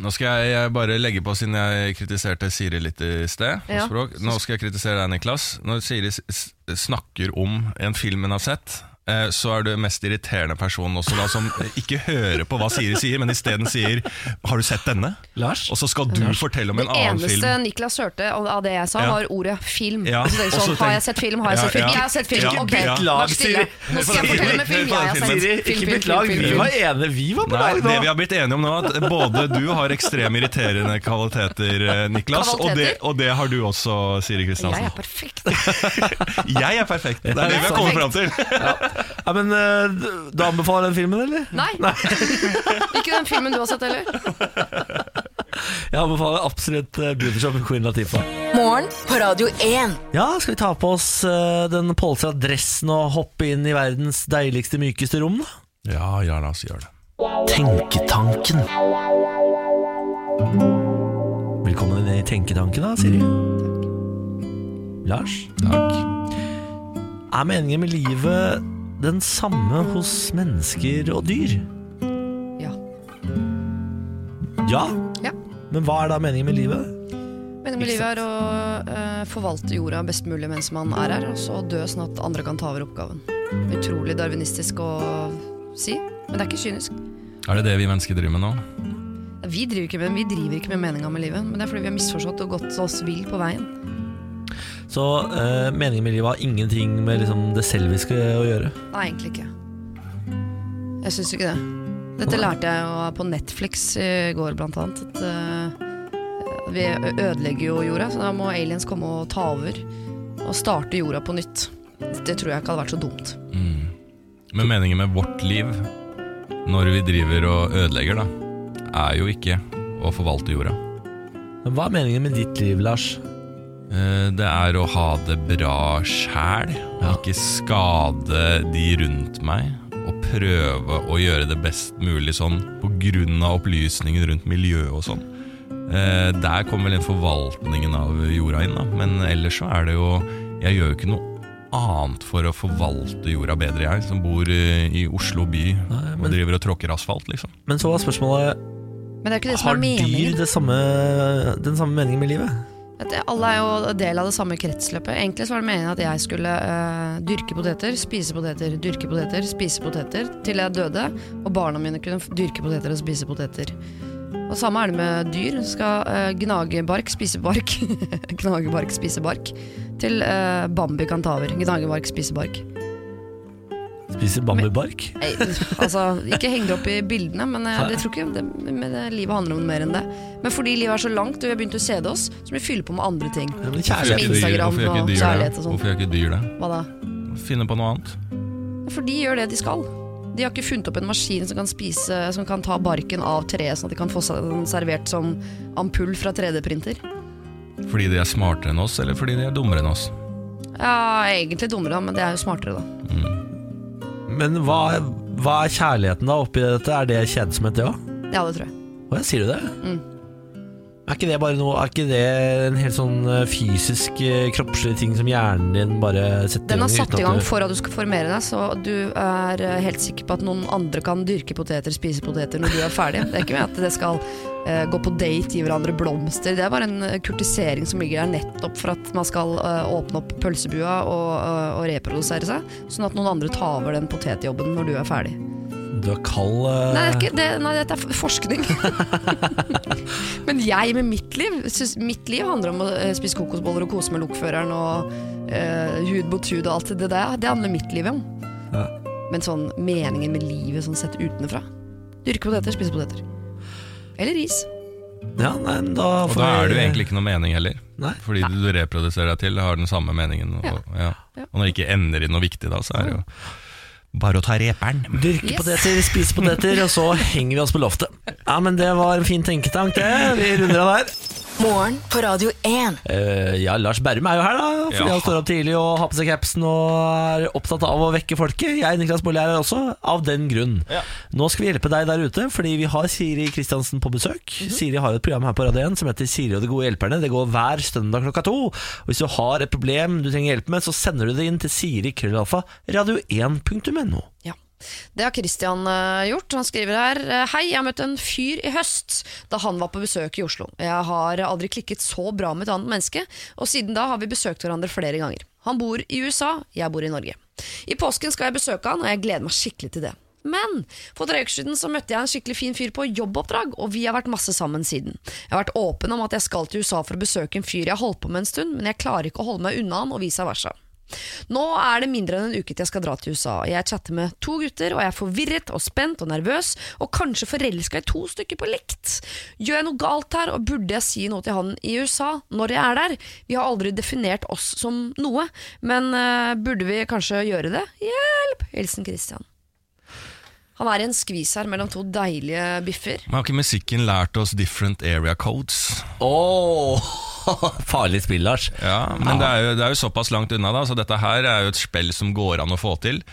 Nå skal jeg- jeg bare legge på, siden jeg kritiserte Siri litt i sted. på
Ja.
Språk. Nå skal jeg kritisere deg, Niklas. Når Siri s- s- snakker om en film hun har sett, eh, så er du den mest irriterende personen også, da, som ikke hører på hva Siri sier, men isteden sier 'Har du sett denne?'
Lars?
Og så skal du fortelle om en
Det
annen
eneste
film.
Niklas hørte av av det jeg sa,
Ja.
var ordet film.
Ja,
Og Så tenkte jeg
og så
sånn, har
tenk-
jeg sett film? Har jeg
Ja,
sett film?
ja.
Jeg har sett film!
Ikke
Ok,
bytt
lag,
vær stille.
Siri.
Nå skal jeg
Siri,
fortelle med film. Ja, jeg har sett
Siri,
Siri,
Altså, film,
ikke
film,
bytt lag!
film, film,
Vi
film.
var enige, vi var på
Nei,
lag
det vi
nå!
har blitt enige om nå, at både du har ekstreme irriterende kvaliteter, eh, Niklas, og det, og det har du også, Siri
Jeg
Kristiansen.
er perfekt.
Jeg er perfekt! Det er det vi har kommet fram til.
Ja, men eh, Du anbefaler den filmen, eller?
Nei. ikke den filmen du har sett heller.
Jeg anbefaler absolutt eh, Beauty Shop med Queen Latifah.
Morgen på Radio 1.
Ja, skal vi ta på oss eh, den polstra dressen og hoppe inn i verdens deiligste, mykeste rom, da?
Ja, ja, la oss gjøre det.
Tenketanken. Velkommen inn i Tenketanken, da, Siri. Lars,
Takk.
er meningen med livet den samme hos mennesker og dyr?
Ja.
Ja,
Ja.
men hva er da meningen med livet?
Meningen med livet er å eh, forvalte jorda best mulig mens man er her, og så dø sånn at andre kan ta over oppgaven. Utrolig darwinistisk å si, men det er ikke kynisk.
Er det det vi mennesker driver med nå?
Vi driver ikke med, vi driver ikke med meninga med livet, men det er fordi vi har misforstått og gått oss vill på veien.
Så eh, meningen med livet har ingenting med liksom, det selviske å gjøre.
Nei, egentlig ikke. Jeg syns ikke det. Dette lærte jeg jo på Netflix i går, blant annet. At eh, vi ø- ødelegger jo jorda, så da må aliens komme og ta over. Og starte jorda på nytt. Det tror jeg ikke hadde vært så dumt.
Mm. Men meningen med vårt liv, når vi driver og ødelegger, da, er jo ikke å forvalte jorda.
Men hva er meningen med ditt liv, Lars?
Eh, Det er å ha det bra sjæl, og ikke skade de rundt meg. Og prøve å gjøre det best mulig sånn pga. opplysningen rundt miljøet og sånn. Eh, Der kommer vel den forvaltningen av jorda inn, da. Men ellers så er det jo Jeg gjør jo ikke noe annet for å forvalte jorda bedre, jeg, som bor eh, i Oslo by
Nei,
og
men-
driver og tråkker asfalt, liksom.
Men så var spørsmålet
Men det er jo ikke det som
Har
er meningen.
dyr det samme, den samme meningen med livet?
At det- alle er jo del av det samme kretsløpet. Egentlig så var det meningen at jeg skulle eh, dyrke poteter, spise poteter, dyrke poteter, spise poteter til jeg døde, og barna mine kunne f- dyrke poteter og spise poteter. Og samme er det med dyr. Skal eh, gnage bark, spise bark. gnage bark, spise bark. Til eh, Bambi kantaver. Gnage bark, spise bark.
Spiser bambubark?
Nei, altså, ikke heng det opp i bildene, men eh, jeg tror ikke det, men det, livet handler om noe mer enn det. Men fordi livet er så langt, og vi har begynt å kjede oss, så må vi fylle på med andre ting.
Ja, men
Hvorfor gjør
Kjærlighet.
ikke dyr-
Instagram
hvorfor gjør ikke
og
dyr det?
kjærlighet og sånn.
Hvorfor gjør ikke dyr det?
Hva da?
Finne på noe annet.
For de gjør det de skal. De har ikke funnet opp en maskin som kan, spise, som kan ta barken av treet, sånn at de kan få seg den servert som ampull fra 3D-printer.
Fordi de er smartere enn oss, eller fordi de er dummere enn oss?
Ja, egentlig dummere, da, men det er jo smartere, da.
Men hva, hva er kjærligheten da oppi dette? Er det kjedsomhet, det òg?
Ja, det tror jeg.
Å ja, sier du det?
Mm.
Er ikke det bare noe Er ikke det en helt sånn eh, fysisk, eh, kroppslig ting som hjernen din bare setter
Den har
uten
satt
at
i gang
du-
for at du skal formere deg, så du er eh, helt sikker på at noen andre kan dyrke poteter, spise poteter når du er ferdig. Det er ikke med at det skal eh, gå på date, gi hverandre blomster. Det er bare en eh, kurtisering som ligger der nettopp for at man skal eh, åpne opp pølsebua og, eh, og reprodusere seg, sånn at noen andre tar over den potetjobben når du er ferdig.
Du er kald eh,
Nei, det er ikke, det, nei dette er f- forskning. Men jeg med mitt liv synes, Mitt liv handler om å eh, spise kokosboller og kose med lokføreren og eh, hud mot hud og alt det der. Det handler mitt liv om.
Ja.
Men sånn meningen med livet sånn sett utenfra Dyrke poteter, spise poteter. Eller ris.
Ja, nei, men da
Og
får
da er
vi-
det jo egentlig ikke noe mening heller.
Nei.
Fordi du reproduserer deg til, har den samme meningen. Og, ja.
Ja.
og når det ikke ender i noe viktig, da, så er det jo bare å ta reperen.
Dyrke
Yes.
poteter, spise poteter, og så henger vi oss på loftet. Ja, men det var en fin tenketank, det. Vi runder av der.
Morgen på Radio 1.
Eh, ja, Lars Berrum er jo her, da. Fordi
Ja.
han står opp tidlig og har på seg capsen og er opptatt av å vekke folket. Jeg, Niklas Baarli, er her også, av den grunn. Nå skal vi hjelpe deg der ute, fordi vi har Siri Kristiansen på besøk. Siri har et program her på Radio 1 som heter Siri og de gode hjelperne. Det går hver søndag klokka to. Og hvis du har et problem du trenger hjelp med, så sender du det inn til siri.krøllalfa.radio1.no.
Ja. Det har Christian eh, gjort. Han skriver her eh, Hei, jeg møtte en fyr i høst da han var på besøk i Oslo. Jeg har aldri klikket så bra med et annet menneske, og siden da har vi besøkt hverandre flere ganger. Han bor i USA, jeg bor i Norge. I påsken skal jeg besøke han, og jeg gleder meg skikkelig til det. Men for tre uker siden så møtte jeg en skikkelig fin fyr på jobboppdrag, og vi har vært masse sammen siden. Jeg har vært åpen om at jeg skal til USA for å besøke en fyr jeg har holdt på med en stund, men jeg klarer ikke å holde meg unna han, og vice versa. Nå er det mindre enn en uke til jeg skal dra til USA. Jeg chatter med to gutter, og jeg er forvirret og spent og nervøs, og kanskje forelska i to stykker på likt. Gjør jeg noe galt her, og burde jeg si noe til han i USA når jeg er der? Vi har aldri definert oss som noe, men eh, burde vi kanskje gjøre det? Hjelp! Hilsen Christian. Han er i en skvis her mellom to deilige biffer.
Men har ikke musikken lært oss different area codes?
Åh, farlig spill, Lars.
Ja, Men Det, er jo, det er jo såpass langt unna, da, så dette her er jo et spill som går an å få til.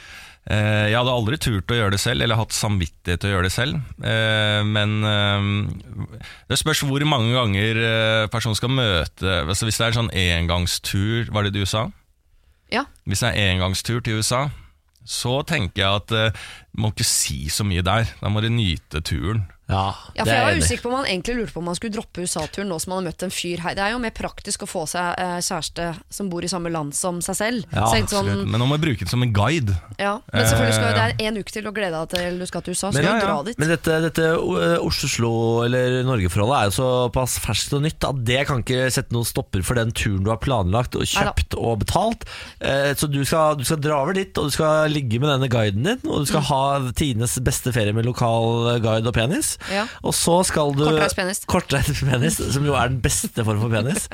Eh, jeg hadde aldri turt å gjøre det selv, eller hatt samvittighet til å gjøre det selv. Eh, men eh, det spørs hvor mange ganger eh, personen skal møte altså Hvis det er en sånn engangstur, var det det du sa?
Ja,
Hvis det er engangstur til USA, så tenker jeg at eh, må ikke si så mye der. Da må du nyte turen.
Ja, det
Ja, for
er
jeg var
enig.
usikker på om han egentlig lurte på om han skulle droppe USA-turen nå som han har møtt en fyr her. Det er jo mer praktisk å få seg eh, kjæreste som bor i samme land som seg selv.
Ja,
Så jeg tenkte sånn,
Men nå må jeg bruke den som en guide.
ja. Men selvfølgelig skal jo det
Eh,
er en uke til å glede deg til du skal til USA, så
Men-
du
ja, ja.
dra dit.
Men dette, dette eh, Oslo- eller Norge-forholdet er jo såpass ferskt og nytt at det kan ikke sette noen stopper for den turen du har planlagt og kjøpt og betalt. Eh, Så du skal, du skal dra over dit, og du skal ligge med denne guiden din, og du
Mm.
skal ha tidenes beste ferie med lokal guide og penis.
Ja.
Og så skal du Eh,
Kortreist penis.
Kortreist penis, som jo er den beste form for penis.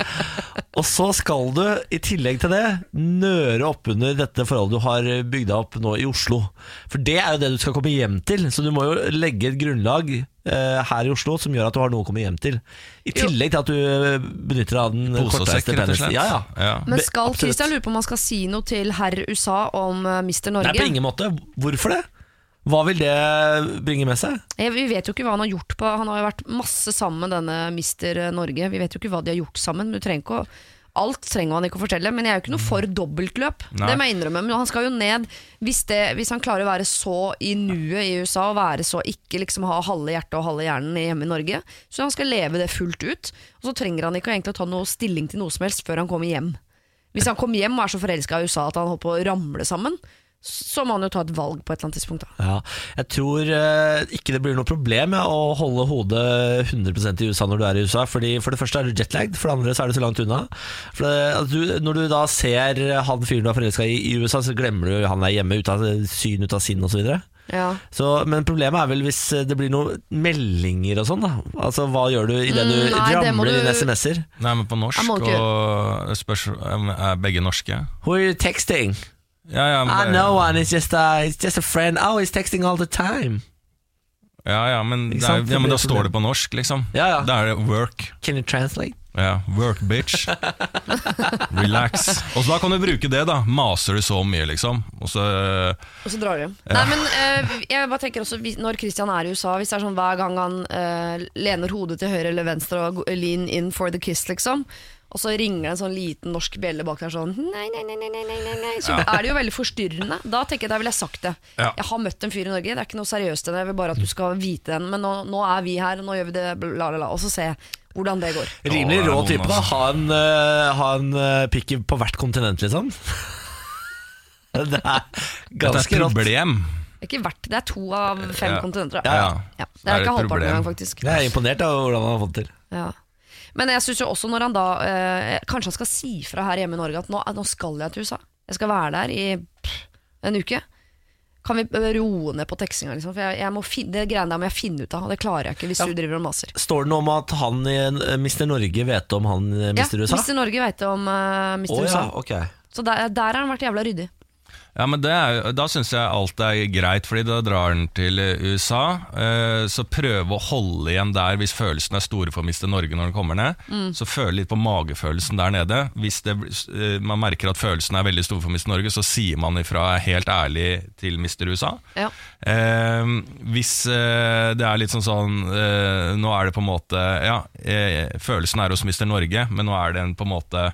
Og så skal du, i tillegg til det, nøre oppunder dette forholdet du har bygd opp nå i Oslo. For det er jo det du skal komme hjem til, så du må jo legge et grunnlag eh, her i Oslo som gjør at du har noe å komme hjem til. I tillegg til at du eh, benytter deg av den
Pose og sekk,
kortreiste
rett og
penisen.
slett.
Ja, ja.
Ja.
Be-
Men skal
absolutt.
Christian lure på om han skal si noe til herr USA om eh, Mr. Norge?
Nei, på ingen måte. Hvorfor det? Hva vil det bringe med seg?
Jeg, vi vet jo ikke hva han har gjort på Han har jo vært masse sammen med denne Mister eh, Norge. Vi vet jo ikke hva de har gjort sammen. Men du trenger ikke å Alt trenger han ikke å fortelle, men jeg er jo ikke noe for dobbeltløp.
Nei.
Det må jeg innrømme, men han skal jo ned hvis, det, hvis han klarer å være så i nuet i USA, og være så ikke liksom ha halve hjertet og halve hjernen hjemme i Norge. Så han skal leve det fullt ut. Og så trenger han ikke egentlig å ta noe stilling til noe som helst før han kommer hjem. Hvis han kommer hjem og er så forelska i USA at han holder på å ramle sammen, så må han jo ta et valg på et eller annet tidspunkt, da.
Ja, jeg tror eh, ikke det blir noe problem ja, å holde hodet 100 i USA når du er i USA. Fordi For det første er du jetlagd, for det andre så er du så langt unna. For det, at du, når du da ser han fyren du er forelska i i USA, så glemmer du jo han er hjemme, ut av syn, ut av sinn osv.
Ja.
Så, men problemet er vel hvis det blir noen meldinger og sånn, da. Altså hva gjør du i det du
Mm, nei, det må
ramler
du-
inn SMS-er?
Nei, men på norsk
Jeg må ikke-
og spørs, Er begge norske?
Who are you texting?
Ja, ja,
I
men,
know one, it's just a, it's just a friend. Oh, he's texting all the time.
ja, ja, men,
Ikke
det er,
sant?
ja, men da
Det blir
står det
problem.
på norsk, liksom.
Ja, ja.
Da er det work.
Can you translate?
Ja, work bitch. Relax. Og så da kan du bruke det, da. Maser du så mye, liksom. Og så
Og så drar de. Nei, men eh, jeg bare tenker også hvis- Når Christian er i USA, hvis det er sånn hver gang han eh, lener hodet til høyre eller venstre og go- lean in for the kiss, liksom, og så ringer det en sånn liten norsk bjelle bak der sånn Nei, nei, nei, nei, nei, nei, nei, nei. Så er det jo veldig forstyrrende. Da tenker jeg, da ville jeg sagt det.
Ja.
Jeg har møtt en fyr i Norge, det er ikke noe seriøst i det, jeg vil bare at du skal vite den. Men nå, nå er vi her, og nå gjør vi det, bla, bla, bla. Og så ser jeg hvordan det går.
Rimelig
Å, det er
rå
noen,
type, da.
altså.
Ha en, eh, ha en eh, pikk i- på hvert kontinent, liksom. det er
Dette er
ganske
et
rått.
problem.
Det er ikke verdt Det er to av fem
Ja.
kontinenter. da.
Ja, ja. Da
Ja, det er,
er det
ikke
et
halvparten
problem.
engang, faktisk.
Jeg er imponert av hvordan han har fått til.
Ja. Men jeg syns jo også når han da eh, Kanskje han skal si fra her hjemme i Norge at nå, nå skal jeg til USA. Jeg skal være der i pff, en uke. Kan vi eh, roe ned på tekstinga, liksom? For jeg, jeg må fin- det greiene der må jeg finne ut av, og det klarer jeg ikke hvis
Ja.
du driver og maser.
Står det noe om at han i eh, Mr. Norge vet om han eh, Mr.
Ja,
USA?
Mr. Norge veit om eh, Mr.
Å,
USA.
ja, ok.
Så der, der har han vært jævla ryddig.
Ja, men det er, jo- Da syns jeg alt er greit, Fordi da drar han til eh, USA. Eh, så prøve å holde igjen der hvis følelsene er store for å miste Norge når han kommer ned. Så føle litt på magefølelsen der nede. Hvis det, eh, man merker at følelsene er veldig store for å miste Norge, så sier man ifra helt ærlig til mister USA.
Ja.
Eh, hvis eh, det er litt sånn sånn eh, Nå er det på en måte Ja, eh, følelsen er hos Mr. Norge, men nå er det en på en måte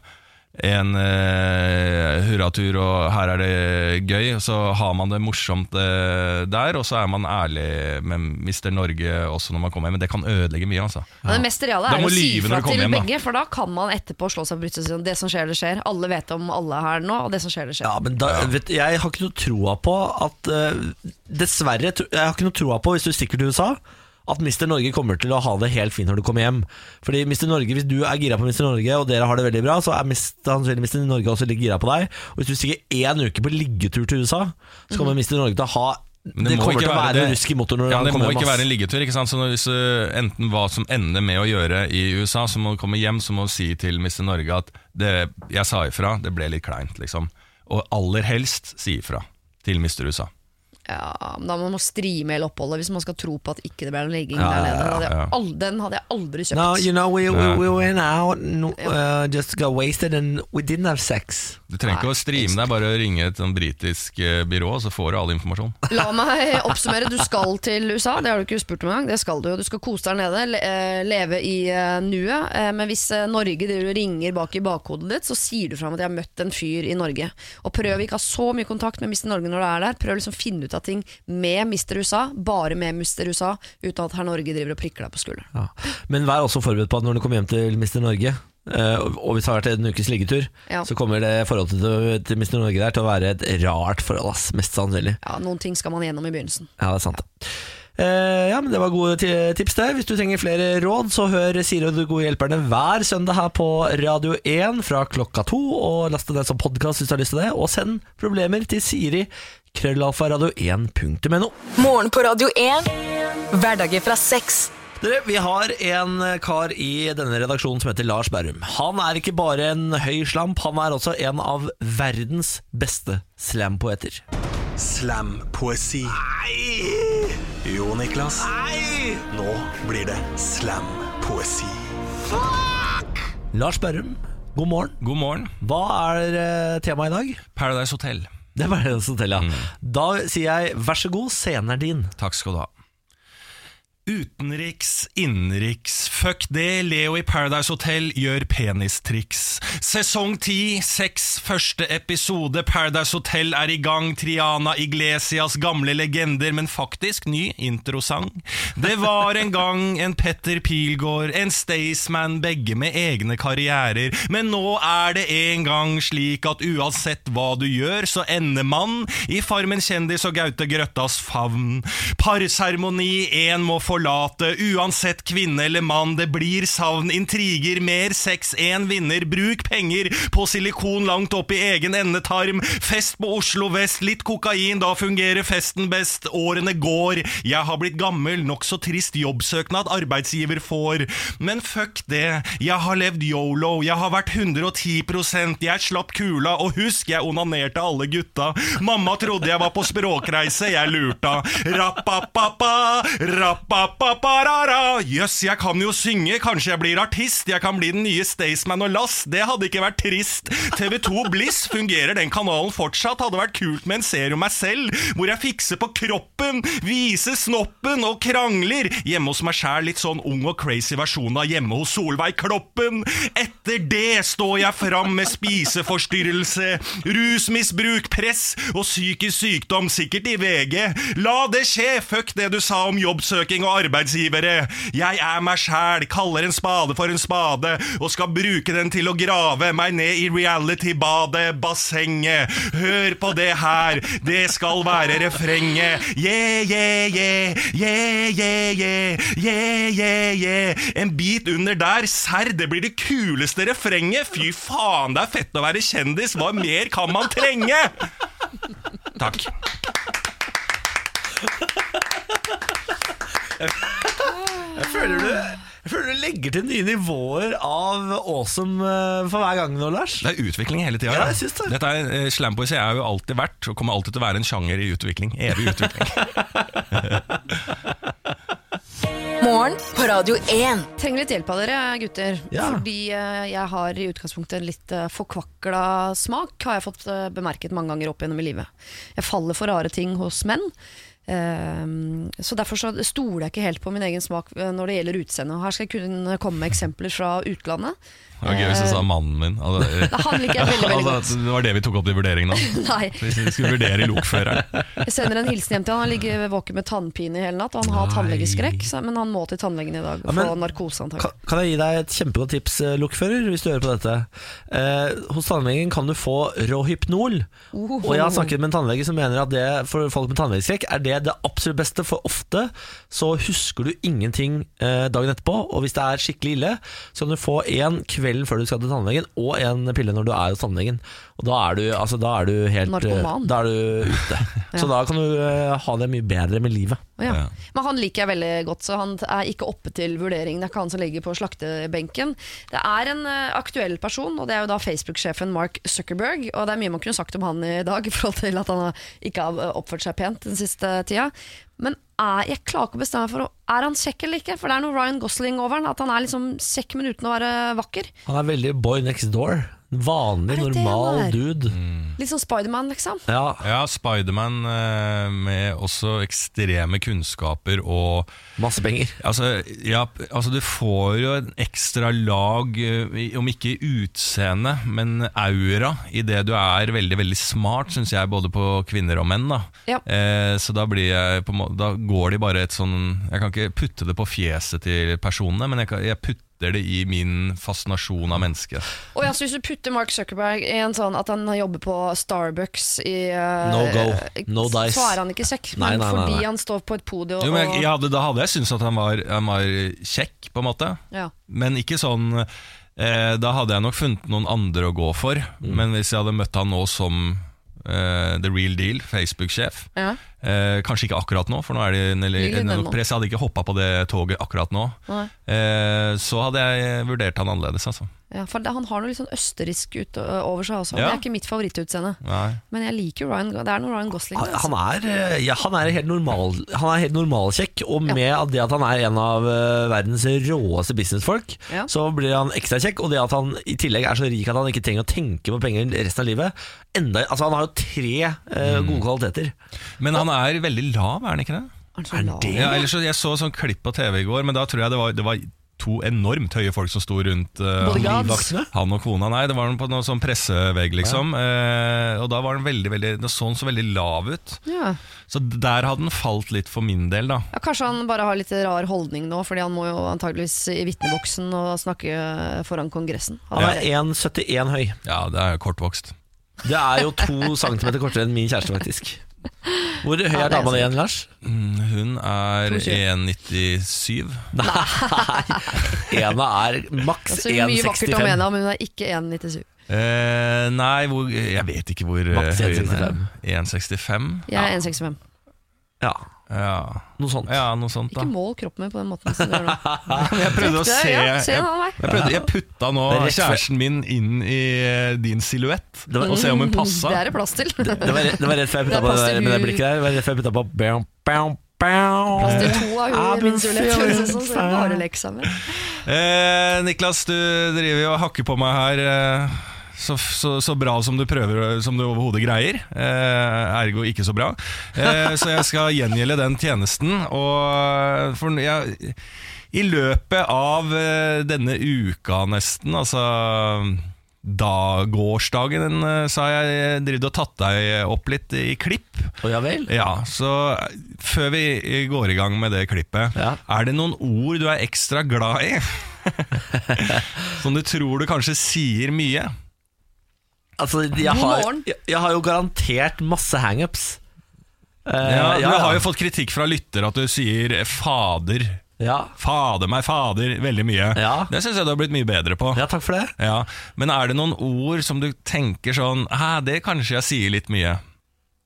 en eh, hurratur, og her er det gøy. og Så har man det morsomt eh, der, og så er man ærlig med Mr. Norge også når man kommer hjem. Men det kan ødelegge mye, altså.
Men det mest reale
Da
er
må
å si
lyve når du
fra til
kommer hjem, da.
begge, for da kan man etterpå slå seg på brystet og si sånn, det som skjer, det skjer. Alle vet om alle her nå, og det som skjer, det skjer.
Ja, men da, vet, jeg har ikke noe troa på at eh, Dessverre, tro- jeg har ikke noe troa på, hvis du stikker til USA, at Mr. Norge kommer til å ha det helt fint når du kommer hjem. Fordi Mr. Norge, Hvis du er gira på Mr. Norge, og dere har det veldig bra, så er mest sannsynlig Mr. Norge også litt gira på deg. Og Hvis du stikker én uke på liggetur til USA, så kommer Mr. Norge til å ha
Men
det, kommer til å være
det.
rusk i motoren når
ja, men
han
Det må
kommer hjem.
ikke
ass.
være en liggetur. ikke sant? Så når, hvis, uh, enten hva som ender med å gjøre i USA, så må du komme hjem så må du si til Mr. Norge at det, 'jeg sa ifra, det ble litt kleint', liksom. Og aller helst si ifra til Mr. USA.
Ja, men da må man streame hele oppholdet hvis man skal tro på at ikke det ble noe ligging der nede. Den hadde, jeg aldri, den hadde jeg aldri kjøpt.
No, you know, we, we,
Nei.
we went out and uh, just got wasted and we didn't have sex.
Du trenger ikke å streame deg, bare å ringe et sånn britisk eh, byrå, så får du all informasjon.
La meg oppsummere. Du skal til USA, det har du ikke spurt om engang. Det skal du jo. Du skal kose deg nede, le eh, leve i eh, nuet. Eh, Men hvis eh, Norge driver og ringer bak i bakhodet ditt, så sier du fram at jeg har møtt en fyr i Norge. Og prøv ikke å ha så mye kontakt med Mr. Norge når du er der. Prøv liksom å finne ut av ting med Mr. USA, bare med Mr. USA, uten at herr Norge driver og prikker deg på skulderen.
Ja. Men vær også forberedt på at når du kommer hjem til Mr. Norge, eh, og- og hvis det har vært en ukes liggetur,
Ja.
så kommer det forholdet til, til Mr. Norge der til å være et rart forhold, ass, mest sannsynlig.
Ja, noen ting skal man gjennom i begynnelsen.
Ja, det er sant. Eh, ja, men Det var gode ti- tips. der Hvis du trenger flere råd, så hør Siri og de gode hjelperne hver søndag her på Radio 1 fra klokka to. Og last ned som podkast hvis du har lyst til det. Og send problemer til Siri. Krøllalfa radio1.no.
Morgen på Radio 1. Hverdager fra seks.
Dere, Vi har en eh, kar i denne redaksjonen som heter Lars Berrum. Han er ikke bare en høy slamp, han er også en av verdens beste slampoeter.
Slam-poesi. Jo, Niklas. Nå blir det slam-poesi.
Lars Berrum, god morgen.
God morgen.
Hva er eh, temaet i dag?
Paradise Hotel.
Det er bare det som teller. ja. Da sier jeg vær så god, scenen er din.
Takk skal du ha. Utenriks, innenriks, fuck det, Leo i Paradise Hotel gjør penistriks. Sesong 10, seks, første episode, Paradise Hotel er i gang, Triana Iglesias gamle legender, men faktisk ny introsang. Det var en gang en Petter Pilgaard, en Staysman, begge med egne karrierer, men nå er det en gang slik at uansett hva du gjør, så ender man i Farmen kjendis og Gaute Grøttas favn. Parseremoni, én må forlate, uansett kvinne eller mann, det blir savn, intriger, mer sex, én vinner, bruk penger på silikon langt opp i egen endetarm, fest på Oslo vest, litt kokain, da fungerer festen best, årene går, jeg har blitt gammel, nokså trist jobbsøknad arbeidsgiver får, men fuck det, jeg har levd yolo, jeg har vært 110 jeg slapp kula, og husk, jeg onanerte alle gutta, mamma trodde jeg var på språkreise, jeg lurta, rappapapa, rappapaparara. Jøss, jeg kan jo synge, kanskje jeg blir artist. Jeg kan bli den nye Staysman og Lass, det hadde ikke vært trist. TV2 Bliss, fungerer den kanalen fortsatt? Hadde vært kult med en serie om meg selv, hvor jeg fikser på kroppen, viser snoppen og krangler. Hjemme hos meg sjæl, litt sånn ung og crazy versjon av Hjemme hos Solveig Kloppen. Etter det står jeg fram med spiseforstyrrelse, rusmisbruk, press og psykisk sykdom, sikkert i VG. La det skje, fuck det du sa om jobbsøking og arbeidsgivere. Jeg er meg sjæl, kaller en spade for en spade, og skal bruke den til å grave meg ned i reality-badet, bassenget. Hør på det her, det skal være refrenget. Yeah, yeah, yeah, yeah, yeah, yeah, yeah, yeah, yeah. En bit under der, serr, det blir det kuleste refrenget. Fy faen, det er fett å være kjendis, hva mer kan man trenge? Takk.
Jeg føler du, jeg føler du legger til nye nivåer av awesome eh, for hver gang nå, Lars.
Det er utvikling hele tida.
Ja, jeg syns det.
Dette er, eh, Slampoesi er jo alltid vært, og kommer alltid til å være en sjanger i utvikling. Evig utvikling.
Morgen på Radio 1.
Trenger litt hjelp av dere, gutter.
Ja.
Fordi eh, jeg har i utgangspunktet en litt eh, forkvakla smak, har jeg fått eh, bemerket mange ganger opp gjennom i livet. Jeg faller for rare ting hos menn. Ehm, så derfor så stoler jeg ikke helt på min egen smak eh, når det gjelder utseende. Her skal jeg kunne komme med eksempler fra utlandet.
Det var gøy hvis du sa mannen min. Altså,
Da han liker jeg veldig, veldig godt.
altså, det var det vi tok opp i vurderingen da.
Nei,
Hvis vi skulle vurdere lokføreren.
Jeg sender en hilsen hjem til han. Han ligger våken med tannpine i hele natt, og han har tannlegeskrekk, så- men han må til tannlegen i dag og
Ja, men-
få narkose, antagelig.
Kan, kan jeg gi deg et kjempegodt tips, eh, lokfører, hvis du hører på dette? Eh, hos tannlegen kan du få Rohypnol.
Oho.
Og jeg har snakket med en tannlege som mener at det for folk med tannlegeskrekk er det det absolutt beste, for ofte så husker du ingenting eh, dagen etterpå, og hvis det er skikkelig ille, så kan du få en kvelden før du skal til tannlegen, og en pille når du er hos tannlegen. Og da er du, altså, da er du helt eh,
Narkoman.
Da er du ute. Så da kan du eh, ha det mye bedre med livet.
Å Ja. Men han liker jeg veldig godt, så han er ikke oppe til vurdering. Det er ikke han som ligger på slaktebenken. Det er en eh, aktuell person, og det er jo da Facebook-sjefen Mark Zuckerberg. Og det er mye man kunne sagt om han i dag, i forhold til at han har- ikke har oppført seg pent den siste tida. Men er, jeg klarer ikke å bestemme meg for å- Er han kjekk eller ikke? For det er noe Ryan Gosling over han, at han er liksom kjekk, men uten å være vakker.
Han er veldig boy next door. Vanlig,
Er det det
normal
han er?
dude.
Litt sånn Spiderman, liksom.
Ja,
Ja, Spiderman eh, med også ekstreme kunnskaper og
masse penger.
Altså, ja, altså du får jo en ekstra lag, eh, om ikke i utseende, men aura, i det du er veldig, veldig smart, synes jeg, både på kvinner og menn. Da.
Ja.
Eh, så da, blir jeg på, en må- da går de bare et sånn, jeg kan ikke putte det på fjeset til personene, men jeg, kan, jeg putter det i min fascinasjon av mennesket.
Og ja, så Hvis du putter Mark Zuckerberg i en sånn at han jobber på Starbucks i eh,
No go, no dice.
Så er han ikke kjekk,
Nei,
men
nei, nei, nei.
fordi han står på et podium
Jo, men jeg,
og
jeg hadde, da hadde jeg syntes at han var, han var kjekk, på en måte.
Ja.
Men ikke sånn Mm. eh, Da hadde jeg nok funnet noen andre å gå for. Men hvis jeg hadde møtt han nå som eh, the real deal, Facebook-sjef.
Ja.
Eh, kanskje ikke akkurat nå, for nå er det en,
Ligger
en,
den nå.
press. Jeg hadde ikke hoppa på det toget akkurat nå.
Nei.
Eh, så hadde jeg vurdert han annerledes, altså.
Ja, for det, Han har noe litt sånn østerriksk ut over seg også.
Ja.
Det er ikke mitt favorittutseende.
Nei.
Men jeg liker jo Ryan Det er noe Ryan Gosling.
Han
der,
han er, eh, ja, han er helt normal Han er helt normalkjekk, og med at det at han er en av eh, verdens råeste businessfolk,
Ja.
så blir han ekstra kjekk. Og det at han i tillegg er så rik at han ikke trenger å tenke på penger resten av livet enda, altså Han har jo tre eh, gode kvaliteter.
Men han er veldig lav, er han ikke det?
Er Altså, han så lav?
det-
Ja, ellers så, jeg så sånn klipp på TV i går, men da tror jeg det var, det var to enormt høye folk som sto rundt eh, han,
Bodyguards?
han og kona. Nei, det var på noen sånn pressevegg, liksom. Eh, og da var han veldig, veldig, da så han så veldig lav ut.
Ja.
Så der hadde den falt litt for min del, da.
Ja, kanskje han bare har litt rar holdning nå, fordi han må jo antageligvis i vitneboksen og snakke eh, foran Kongressen.
Han er 1,71 høy.
Ja, det er jo kortvokst.
Det er jo to centimeter kortere enn min kjæreste, faktisk. Hvor høy
Ja,
er
det er
dama di
sant.
igjen, Lars?
Mm, Hun er
2,20.
1,97.
Ena er maks
Altså, mye vakkert om
1,65.
henne, men hun er ikke 1,97.
Eh, nei, hvor, jeg vet ikke hvor eh,
Maks
høy
1,65.
hun er. 1,65?
Jeg er 1,65.
Ja,
Ja.
noe sånt.
ja, noe sånt, da.
Ikke mål kroppen min på den måten som du gjør nå.
Jeg prøvde å
Det,
se
ja, se
jeg-
en annen vei.
Jeg, prøvde, jeg putta nå
Det er rett før-
kjæresten min inn i eh, din silhuett
Det var- Mm,
og se om hun passa.
Det er det plass til.
Det var, det var rett før jeg putta
Det
på det,
passer
der- med det
hun-
blikket der. Det var rett før jeg putta på bam, bam, bam.
Plass til to av
Ja,
hun
men
i min silhuett,
fy,
høres det ut som, så hun bare leker seg med.
Eh, Niklas, du driver jo og hakker på meg her. Eh, så, så, så bra som du prøver Som du overhodet greier. Eh, ergo ikke så bra. Eh, så jeg skal gjengjelde den tjenesten. Og eh, for jeg, I løpet av eh, denne uka, nesten, altså da gårsdagen, eh, så har jeg drevet og tatt deg opp litt i klipp.
Å, ja vel?
Ja, så eh, før vi går i gang med det klippet,
Ja.
er det noen ord du er ekstra glad i? Som du tror du kanskje sier mye?
Altså, jeg
God
har,
morgen.
jeg, jeg har jo garantert masse hangups. Uh,
Ja, du har jo fått kritikk fra lytter at du sier eh, 'fader'.
ja.
Fader meg, fader, veldig mye.
Ja.
Det syns jeg du har blitt mye bedre på.
ja, takk for det.
Ja, Men er det noen ord som du tenker sånn Hæ, det kanskje jeg sier litt mye?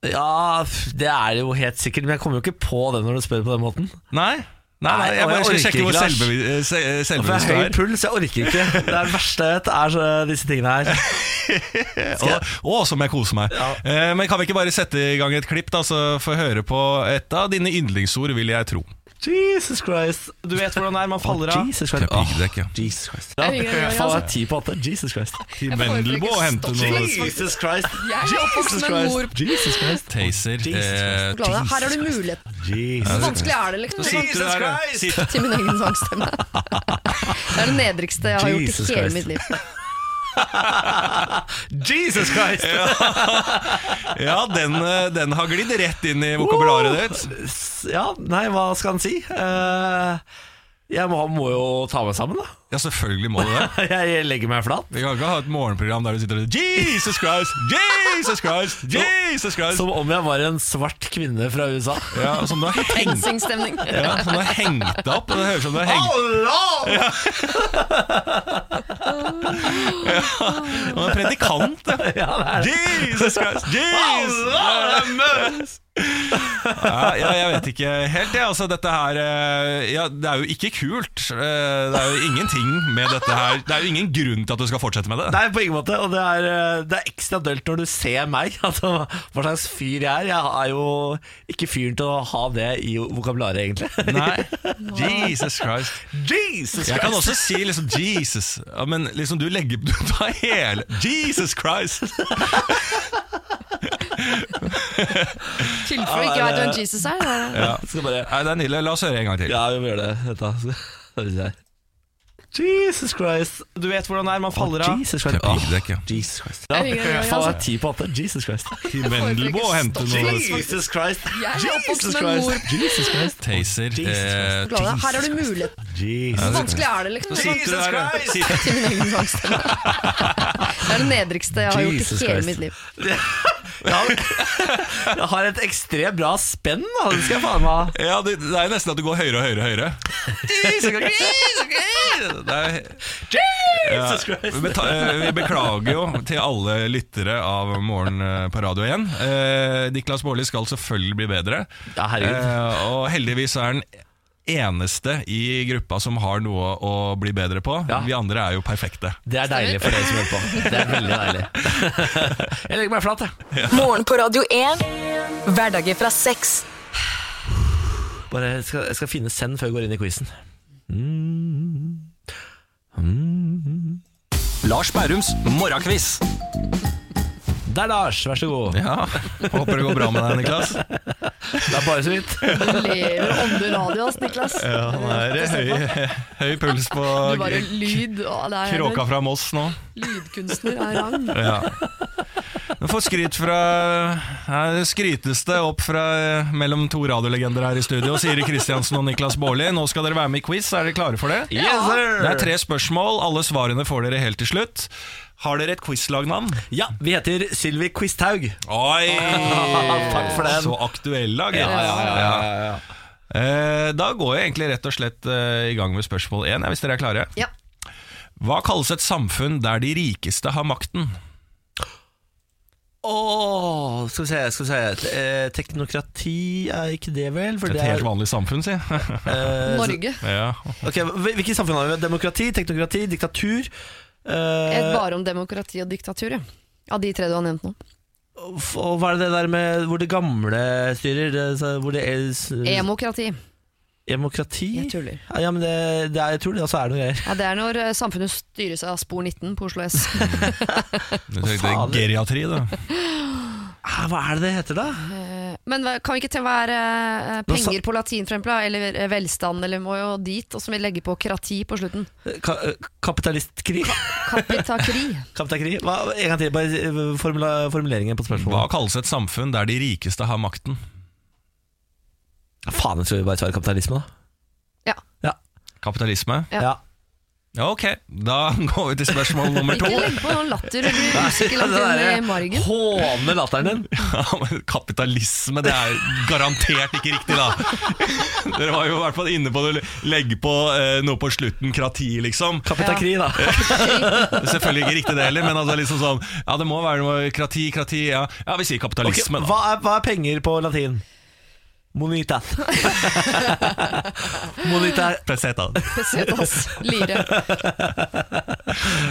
Ja, f- det er jo helt sikkert, men jeg kommer jo ikke på det når du spør på den måten.
Nei?
Nei,
Nei, jeg
og
bare
jeg
skal
orker
sjekke
ikke,
hvor
Lars.
selvbevi- eh, se- eh,
For
selvbevisst
jeg har høy
du er.
puls, jeg orker ikke. Det er det verste jeg vet, er så, disse tingene her. Skal jeg-
Å, å, som jeg koser meg.
Ja.
Eh, men kan vi ikke bare sette i gang et klipp, da, så få høre på et av dine yndlingsord, vil jeg tro.
Jesus Christ.
Du vet hvordan det er, man faller
Å,
av.
Jesus Christ.
Kjøp piggdekk, ja.
Åh, Jesus Christ. Ja,
Jeg ringer, jeg ringer,
faen,
altså.
det er ti på åtte. Jesus Christ.
Til
Jeg får
Vendelbo
ikke
og hente
stoppe.
noe
Jesus Christ.
Jeg er oppvokst med en mor.
Jesus Christ.
Taser.
Jesus
Eh,
Glad i det. Her har du mulighet.
Jesus.
Hvor vanskelig er det, liksom?
sitter du der,
Christ!
sitter-
Til min egen sangstemme. Det er det nedrigste jeg har gjort
Jesus
i hele
Christ.
mitt liv.
Jesus Christ!
Ja, den, eh, den har glidd rett inn i vokabularet ditt.
Ja, nei, hva skal han si? Eh, jeg må, må jo ta meg sammen, da.
Ja, selvfølgelig må du det.
Jeg legger meg flat.
Vi kan ikke ha et morgenprogram der du sitter og Jesus Christ, Jesus Christ, Jesus Christ.
Som om jeg var en svart kvinne fra USA.
Ja, som du har hengt,
Singstemning.
ja, som du har hengt deg opp. Det høres ut som du har hengt
Ja.
Og en predikant. ja. Jesus Christ! Jesus! Ja, ja, jeg vet ikke helt det. Altså, dette her eh, ja, Det er jo ikke kult. Eh, Det er jo ingenting med dette her Det er jo ingen grunn til at du skal fortsette med det.
Nei, på ingen måte. Og det er, eh, det er ekstra dølt når du ser meg. Altså, hva slags fyr jeg er. Jeg er jo ikke fyren til å ha det i vokabularet, egentlig.
Nei. Jesus Christ.
Jesus
Jeg kan også si liksom Jesus, ja, men liksom du legger Du tar hele Jesus Christ!
Tilfelle ikke vet hvem Jesus er. det er-
Ja.
Skal bare,
Nei, det er nydelig. La oss høre en gang til.
ja, vi må gjøre det. Vent da. Skal vi se her. Jesus Christ.
Du vet hvordan det er, man faller av.
Jesus Christ.
Kjøp piggdekk, ja.
Åh, Jesus Christ.
Jeg ringer, jeg ringer,
Faen, det
altså.
er ti på åtte. Jesus Christ.
Til Vendelbo og hente noe
Jesus Christ.
Jeg er oppvokst
Jesus
med en mor.
Christ. Jesus Christ.
Taser.
Jesus Christ.
Eh,
Glad i det. Her har du mulighet.
Jeez.
Hvor vanskelig er det, liksom?
Så sitter du
Jesus
der og
Christ!
sitter,
til min egen sangstemme. Det er det nedrigste jeg har gjort
Jesus
i hele
Christ.
mitt liv.
Ja, jeg har et ekstremt bra spenn, da. Det skal jeg faen meg ha.
ja, det, det er nesten at det går høyere og høyere og høyere. Det er, ja,
Jesus Christ!
vi beta- vi beklager jo til alle lyttere av Morgen eh, på Radio 1. Eh, Niklas Baarli skal selvfølgelig bli bedre.
Ja, herregud.
Eh, og heldigvis er han eneste i gruppa som har noe å bli bedre på.
Ja.
Vi andre er jo perfekte.
Det er deilig for dere som hører på. Det er veldig deilig. Jeg legger meg flat, jeg.
Morgen på Radio 1. Hverdager fra seks.
Bare jeg skal, jeg skal finne send før jeg går inn i quizen.
Lars Bærums morgenkviss.
Der, Lars. Vær så god.
Ja, Håper det går bra med deg, Niklas.
Det er bare så vidt.
Du lever ånde radio, ass, Niklas.
Ja, Han er i høy, høy puls på
Du bare lyd og det er
kråka fra Moss nå.
Lydkunstner er rang.
Ja. Du får skryt fra her skrytes det opp fra eh, mellom to radiolegender her i studio. Siri Kristiansen og Niklas Baarli, nå skal dere være med i quiz. Er dere klare for det?
Yes,
Det er
sir.
tre spørsmål. Alle svarene får dere helt til slutt. Har dere et quizlagnavn?
Ja, vi heter Sylvi Quisthaug.
Oi!
Eh. Takk for den.
Så aktuelle, gitt. Eh, Da går jeg egentlig rett og slett eh, i gang med spørsmål én, hvis dere er klare.
Ja.
Hva kalles et samfunn der de rikeste har makten?
Åh, skal vi se, skal vi se. Eh, Teknokrati er ikke det, vel? For
Et
det
helt
er,
vanlig samfunn, si.
eh,
Norge.
ja.
ok, hvil- Hvilke samfunn har vi? Demokrati, teknokrati, diktatur?
Et
Eh,
bare om demokrati og diktatur, ja. Av de tre du har nevnt nå.
og hva er det der med hvor det gamle styrer? Det, så- hvor det er s-
Emokrati.
Demokrati?
Jeg tuller.
Ja, ja, men det, det er, jeg tror det, og så er det noe greier.
Ja, det er når eh, samfunnet styres av spor 19 på Oslo S.
Du tenkte
fader.
geriatri, da.
Ah, hva er det det heter, da?
Eh, Men hva- kan vi ikke til å være eh,
Nå sa-
penger på latin, for eksempel, da, eller eh, velstand, eller må jo dit, og så må vi legge på krati på slutten.
Ka eh, kapitalistkrig?
Kapitakri.
Kapitakri? Hva, en gang til, bare eh, formula, formuleringen på
Hva
spørsmålet.
kalles et samfunn der de rikeste har makten?
Ja, faen, skal vi bare svare kapitalisme, da?
Ja.
Kapitalisme?
Ja.
ja.
Ja, Ok, da går vi til spørsmål nummer to.
Ikke legg på noen latter, du blir usikker langt
Ja, det
inn i
der-
eh, margen.
Håne latteren din.
Ja, men kapitalisme, det er garantert ikke riktig, da. Dere var jo i hvert fall inne på det. Legge på eh, noe på slutten, krati, liksom.
Kapitakri, da.
Det er Selvfølgelig ikke riktig det heller, men altså liksom sånn Ja, det må være noe krati, krati Ja, ja vi sier
Ok,
kapitalisme,
hva, er, hva er penger på latin? Monita. Monita.
da. Peseta.
Pesetas. Lire.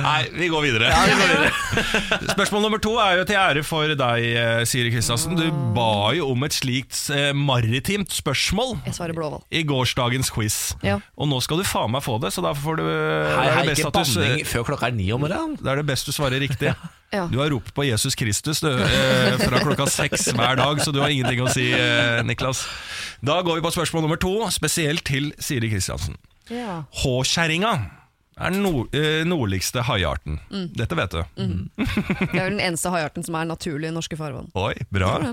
Nei, vi går videre. Spørsmål nummer to er jo til ære for deg, eh, Siri Kristiansen. Du ba jo om et slikt eh, maritimt spørsmål.
Jeg svarer blåhval.
I gårsdagens quiz.
Ja.
Og nå skal du faen meg få det, så da får du
Hei,
det
hei,
er det best
ikke
at du-
banning før klokka er ni om morgenen.
Det er det best du svarer riktig.
Ja.
Du har ropt på Jesus Kristus du, eh, fra klokka seks hver dag, så du har ingenting å si, eh, Niklas. Da går vi på spørsmål nummer to, spesielt til Siri Kristiansen.
Ja.
Håkjerringa er den nord, eh, nordligste haiarten.
Mm.
Dette vet du.
Jeg er vel den eneste haiarten som er naturlig i norske farvann.
Oi, bra. Det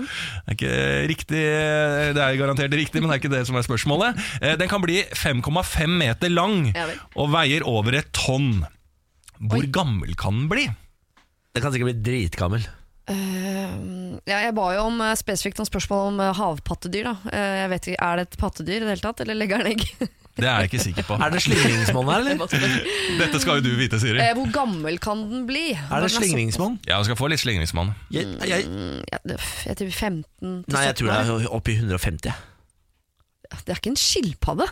er ikke riktig, eh, det er garantert riktig, men det er ikke det som er spørsmålet. Eh, Den kan bli 5,5 meter lang
Ja vel.
og veier over et tonn. Hvor
Oi.
gammel kan den bli?
Det kan sikkert bli dritgammel.
Eh, ja, jeg ba jo om eh, spesifikt om spørsmål om eh, havpattedyr. Da. Eh, jeg vet ikke, Er det et pattedyr i det hele tatt, eller legger den egg?
Det er jeg ikke sikker på.
Er det slingringsmonn her, eller?
Dette skal jo du vite, Siri.
Eh, hvor gammel kan den bli? sånn
Er det slingringsmonn?
Ja, du skal få litt slingringsmann.
Jeg, jeg,
Ja, det- f- jeg tror 15 til
nei, jeg
17
tror det
år.
er oppi 150.
Det er ikke en skilpadde.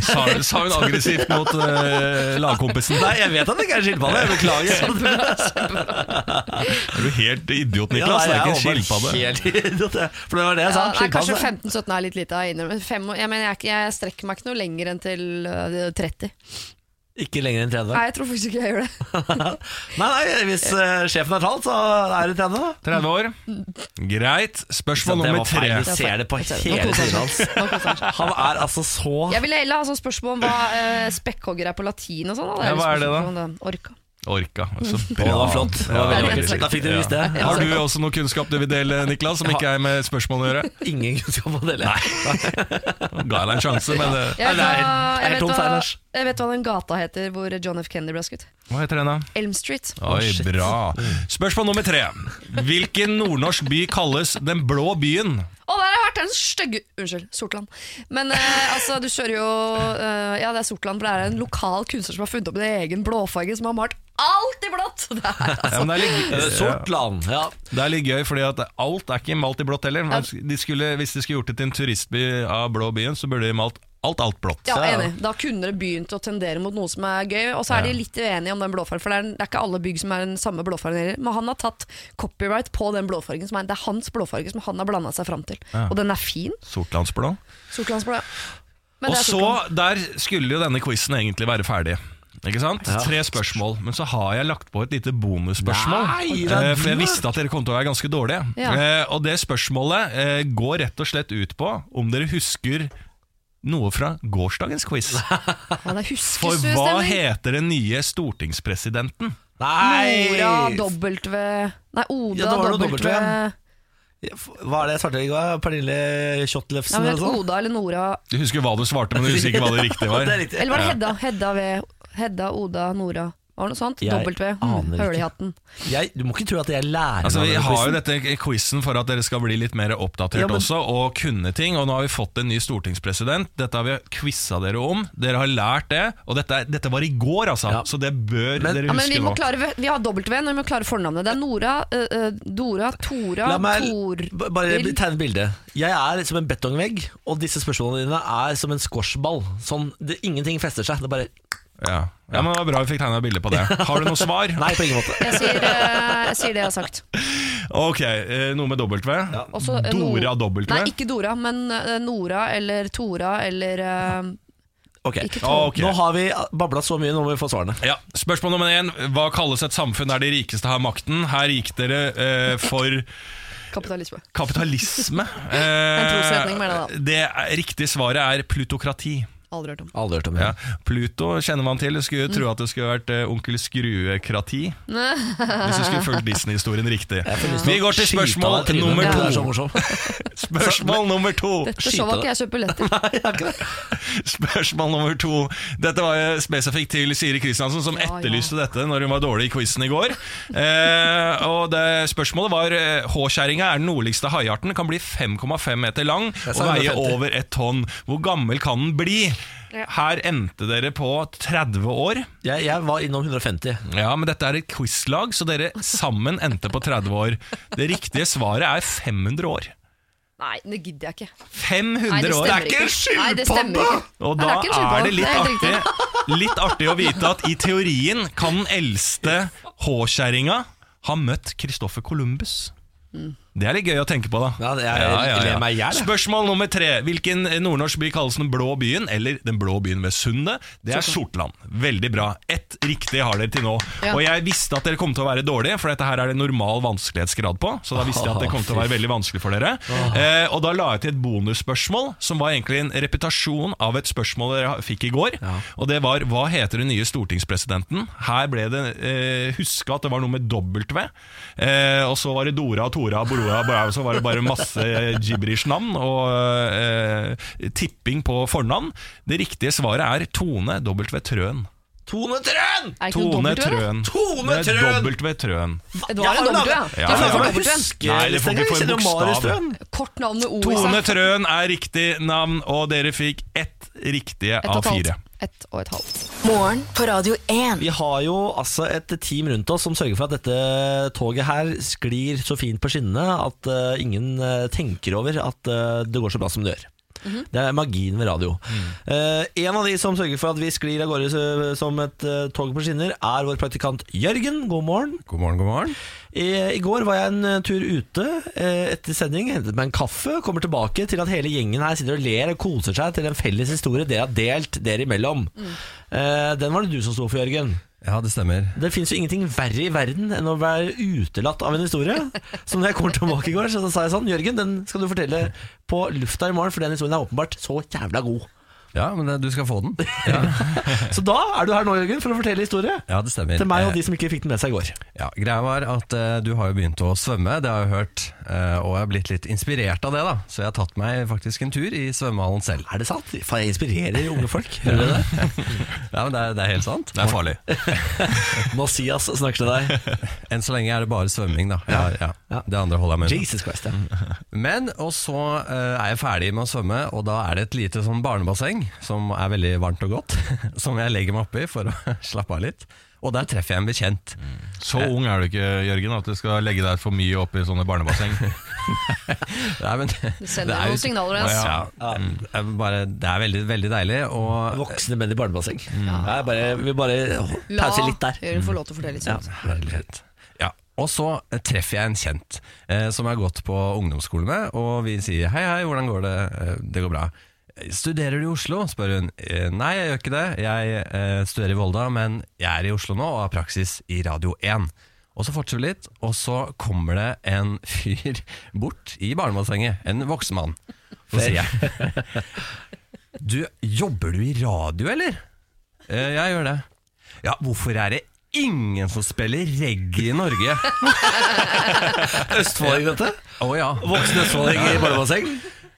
Sa, sa hun aggressivt mot eh, lagkompisen.
Nei, jeg vet at det ikke er en skilpadde. Jeg beklager.
Er du helt idiot, Niklas? det er ikke en skilpadde.
skilpadde. For det var det jeg sa.
Ja, nei, kanskje
Skilpadde.
15-17 er litt lite. Jeg, innrømmer. Fem år- jeg, mener, jeg, er ikke- jeg strekker meg ikke noe lenger enn til eh, 30.
Ikke lenger enn 30.
Nei, jeg tror faktisk ikke jeg gjør det.
Nei, nei, hvis eh, sjefen har talt, så er det 30, da.
30 år. Greit.
Det
Spørsmål
var
nummer
feil.
tre.
Du ser det på
Jeg ser det.
hele
Nå koser
tiden
han
hans.
seg. Nå koser han seg.
Han er altså så
Jeg ville heller ha sånn spørsmål om hva eh, spekkhogger er på latin og sånn. da. Det
Ja,
litt
hva er det da?
spørsmål om Orka.
Orka. Så
Å, det
bra.
var flott. Det var veldig vakkert. Da fikk dere vist det.
Ja. Har du også noe kunnskap du vil dele, Niklas, som ikke er med spørsmålet å gjøre?
Ingen kunnskap å dele.
Ga jeg deg en sjanse, men
Nei,
eh,
Jeg vet,
det er-
hva,
det er
jeg,
tomt her,
vet hva,
Lars.
jeg vet hva den gata heter hvor John F. Kennedy ble skutt.
hva heter den, da?
Elm Street.
Oi,
shit.
bra. Spørsmål nummer tre. Hvilken nordnorsk by kalles Den blå byen?
Å, der har jeg vært! Den stygge Unnskyld, Sortland. Men eh, altså, du kjører jo eh, Ja, det er Sortland, for det er en lokal kunstner som har funnet opp en egen blåfarge som har malt alt i blått! Det er, altså.
Ja, men det, er litt,
Eh, Sort land. Ja.
det er litt gøy, fordi at alt er ikke malt i blått heller. Men de skulle, hvis de skulle gjort det til en turistby av blå byen, så burde de malt alt, alt blått.
ja, enig. Da kunne det begynt å tendere mot noe som er gøy. Og så er de litt uenige om den blåfargen, for det er, det er ikke alle bygg som er den samme blåfargen heller. Men han har tatt copyright på den blåfargen. Som er, det er hans blåfarge som han har blanda seg fram til. Og den er fin.
Sortlandsblå.
Sortlandsblå. Men
Og
det er
så,
Sortland.
der skulle jo denne quizen egentlig være ferdig. Ikke sant? Tre spørsmål. Men så har jeg lagt på et lite bonusspørsmål.
Nei, det er
eh, for jeg
du.
visste at dere kom til å være ganske dårlige.
Ja.
Eh, og det spørsmålet eh, går rett og slett ut på om dere husker noe fra gårsdagens quiz.
Ja, det er
For hva
huskestemning.
heter den nye stortingspresidenten?
Nora
Nei!
dobbelt ved Nei, Oda
Ja, det var noe
dobbelt
dobbelt
ved
ved. Hva er det svartelegg var? Pernille
Nei,
Kjottlefsen
men
eller
vet
noe sånt?
Oda eller Nora
Du husker hva du svarte, men du husker ikke hva det riktige var.
Det er riktig.
Eller var det Hedda? Hedda ved Hedda, Oda, Nora Var det noe sånt?
Jeg
Dobbelt ved
aner
hmm,
ikke.
Hølehatten
Jeg, du må ikke tro at jeg lærer
Altså,
meg
vi
denne
har jo
quizen.
dette quizen for at dere skal bli litt mer oppdatert
Ja, men-
også, og kunne ting. Og nå har vi fått en ny stortingspresident. Dette har vi quiza dere om. Dere har lært det. Og dette, er- dette var i går, altså,
Ja.
så det
Men-
bør dere
Ja, men vi
huske
må
nå.
klare ved- Vi har dobbelt ved Men vi må klare fornavnet Det er Nora, eh, eh, Dora, Tora,
La meg
Tor
b- bare tegne et bilde. Jeg er som en betongvegg, og disse spørsmålene dine er som en squashball. Sånn, det, ingenting fester seg. Det er bare
Ja. ja, men det var Bra vi fikk tegna bilde på det. Har du noe svar?
Nei, på ingen måte.
jeg sier, eh, jeg sier det jeg har sagt
Ok, eh, Noe med W?
Også, eh, no-
Dora W?
Nei, ikke Dora Men eh, Nora eller Tora Eller eh,
Ok.
Ikke Tora
Ah, Ok.
Nå har vi babla så mye, nå må vi få svarene.
Ja, Spørsmål nummer én. Hva kalles et samfunn der de rikeste har makten? Her gikk dere eh, for
Kapitalisme
kapitalisme. Eh,
trosretning, mener jeg
det er- riktige svaret er plutokrati.
Aldri hørt om
Aldri hørt om det.
Ja. Pluto kjenner man til. Skulle jo
Mm.
tro at det skulle vært eh, onkel Skrue-krati. Hvis du skulle fulgt Disney-historien riktig. Vi går til spørsmål nummer
Det er så
to.
morsomt.
Spørsmål nummer to.
Dette showet har ikke jeg kjøpt billetter
Nei, jeg har ikke det.
Spørsmål nummer to. Dette var jo spesifikt til Siri Kristiansen, som
Ja, ja.
etterlyste dette når hun var dårlig i quizen i går. Eh, og det, Spørsmålet var eh, Håkjerringa er den nordligste haiarten, kan bli 5,5 meter lang og
sa
veie
150.
over ett tonn. Hvor gammel kan den bli? Her endte dere på 30 år.
Jeg, jeg var innom 150.
Ja, men dette er et quizlag, så dere sammen endte på 30 år. Det riktige svaret er 500 år.
Nei, det gidder jeg ikke
500
Nei, det
år!
stemmer ikke. Nei, det stemmer ikke.
Og
Nei,
da
det er ikke en
er det litt
skilpadde. Det er helt
artig, litt artig å vite at i teorien kan den eldste håkjerringa ha møtt Kristoffer Columbus.
Mm.
Det er litt gøy å tenke på, da.
Ja, det er- ler meg i hjel, jeg.
Spørsmål nummer tre. Hvilken nordnorsk by kalles Den blå byen, eller Den blå byen ved sundet? Det er Sortland. Veldig bra. Ett riktig har dere til nå.
Ja.
Og jeg visste at dere kom til å være dårlige, for dette her er det normal vanskelighetsgrad på. Så da visste jeg at det kom til å være veldig vanskelig for dere.
Ah.
Eh, og da la jeg til et bonusspørsmål, som var egentlig en repetasjon av et spørsmål dere ha- fikk i går. Og det var 'Hva heter den nye stortingspresidenten?' Her ble det eh, huska at det var noe med dobbelt V. Eh, og så var det Dora og Tora og Borora, Borora, og så var det bare masse eh, gibberish-navn og eh, tipping på fornavn. Det riktige svaret er Tone W. Trøen.
Tone Trøen!
Er det ikke
Tone
noe dobbelt ved det?
Trøen.
Tone
Det er
Trøen!
dobbelt ved Trøen.
Det var en dobbelt, ja.
Ja,
Det er
ja.
sånn som jeg
Dobbelt, ja.
husker.
Nei, det får ikke for
Jeg kjenner jo
bokstav.
Marius Trøen.
Kort navn med O i
Tone
seg.
Trøen er riktig navn, og dere fikk ett riktige
Ett og
av
et halvt.
fire.
Ett og et halvt.
Morgen på Radio 1.
Vi har jo altså et team rundt oss som sørger for at dette toget her sklir så fint på skinnene at eh, ingen eh, tenker over at eh, det går så bra som det gjør. Det er magien ved radio.
Mm.
Eh, en av de som sørger for at vi sklir av gårde så- som et eh, tog på skinner, er vår praktikant Jørgen. God morgen.
God morgen, god morgen.
I, I går var jeg en eh, tur ute eh, etter sending, hentet meg en kaffe, kommer tilbake til at hele gjengen her sitter og ler og koser seg til en felles historie dere har delt dere imellom. Eh, den var det du som sto for, Jørgen.
Ja, det stemmer.
Det fins jo ingenting verre i verden enn å være utelatt av en historie. Som da jeg kom tilbake i går, så da sa jeg sånn Jørgen, den skal du fortelle på lufta i morgen, for den historien er åpenbart så jævla god.
Ja, men eh, du skal få den.
Så da er du her nå, Jørgen, for å fortelle historie.
Ja, det stemmer.
Til meg og
Eh,
de som ikke fikk den med seg i går.
Ja, greia var at eh, du har jo begynt å svømme, det har jeg hørt. eh, og jeg har blitt litt inspirert av det, da. Så jeg har tatt meg faktisk en tur i svømmehallen selv.
Er det sant? Faen, jeg inspirerer jo unge folk. Hører du det?
Ja, men det er, det er helt sant.
Det er farlig.
Masias snakker til deg.
Enn så lenge er det bare svømming, da. Ja, ja.
Ja.
Det andre holder jeg med.
Jesus Christ, ja.
Men, og så eh, er jeg ferdig med å svømme, og da er det et lite sånn barnebasseng, som er veldig varmt og godt, som jeg legger meg oppi for å slappe av litt. Og der treffer jeg en bekjent.
Så ung er du ikke, Jørgen, at du skal legge deg for mye opp i sånne barnebasseng.
Nei, men,
Du sender noen signaler, ass.
Ja, mm, det er bare, det er veldig, veldig deilig. Og
Voksne menn i barnebasseng. Ja, jeg bare, vi bare pauser litt der.
Jørgen få lov til å fortelle litt. sånt.
Altså, Herlighet. Ja, og så treffer jeg en kjent eh, som jeg har gått på ungdomsskole med, og vi sier hei, hei, hvordan går det? Eh, Det går bra. Studerer du i Oslo? spør hun. «Eh, Nei, jeg gjør ikke det. Jeg eh, studerer i Volda, men jeg er i Oslo nå og har praksis i Radio 1. Og så fortsetter vi litt, og så kommer det en fyr bort i barnebassenget. En voksen mann. Så sier jeg Du, jobber du i radio, eller? «Eh, Jeg gjør det. Ja, hvorfor er det ingen som spiller reggae i Norge?
Østfolding, dette.
Å ja.
Voksne østfolding i barnebasseng.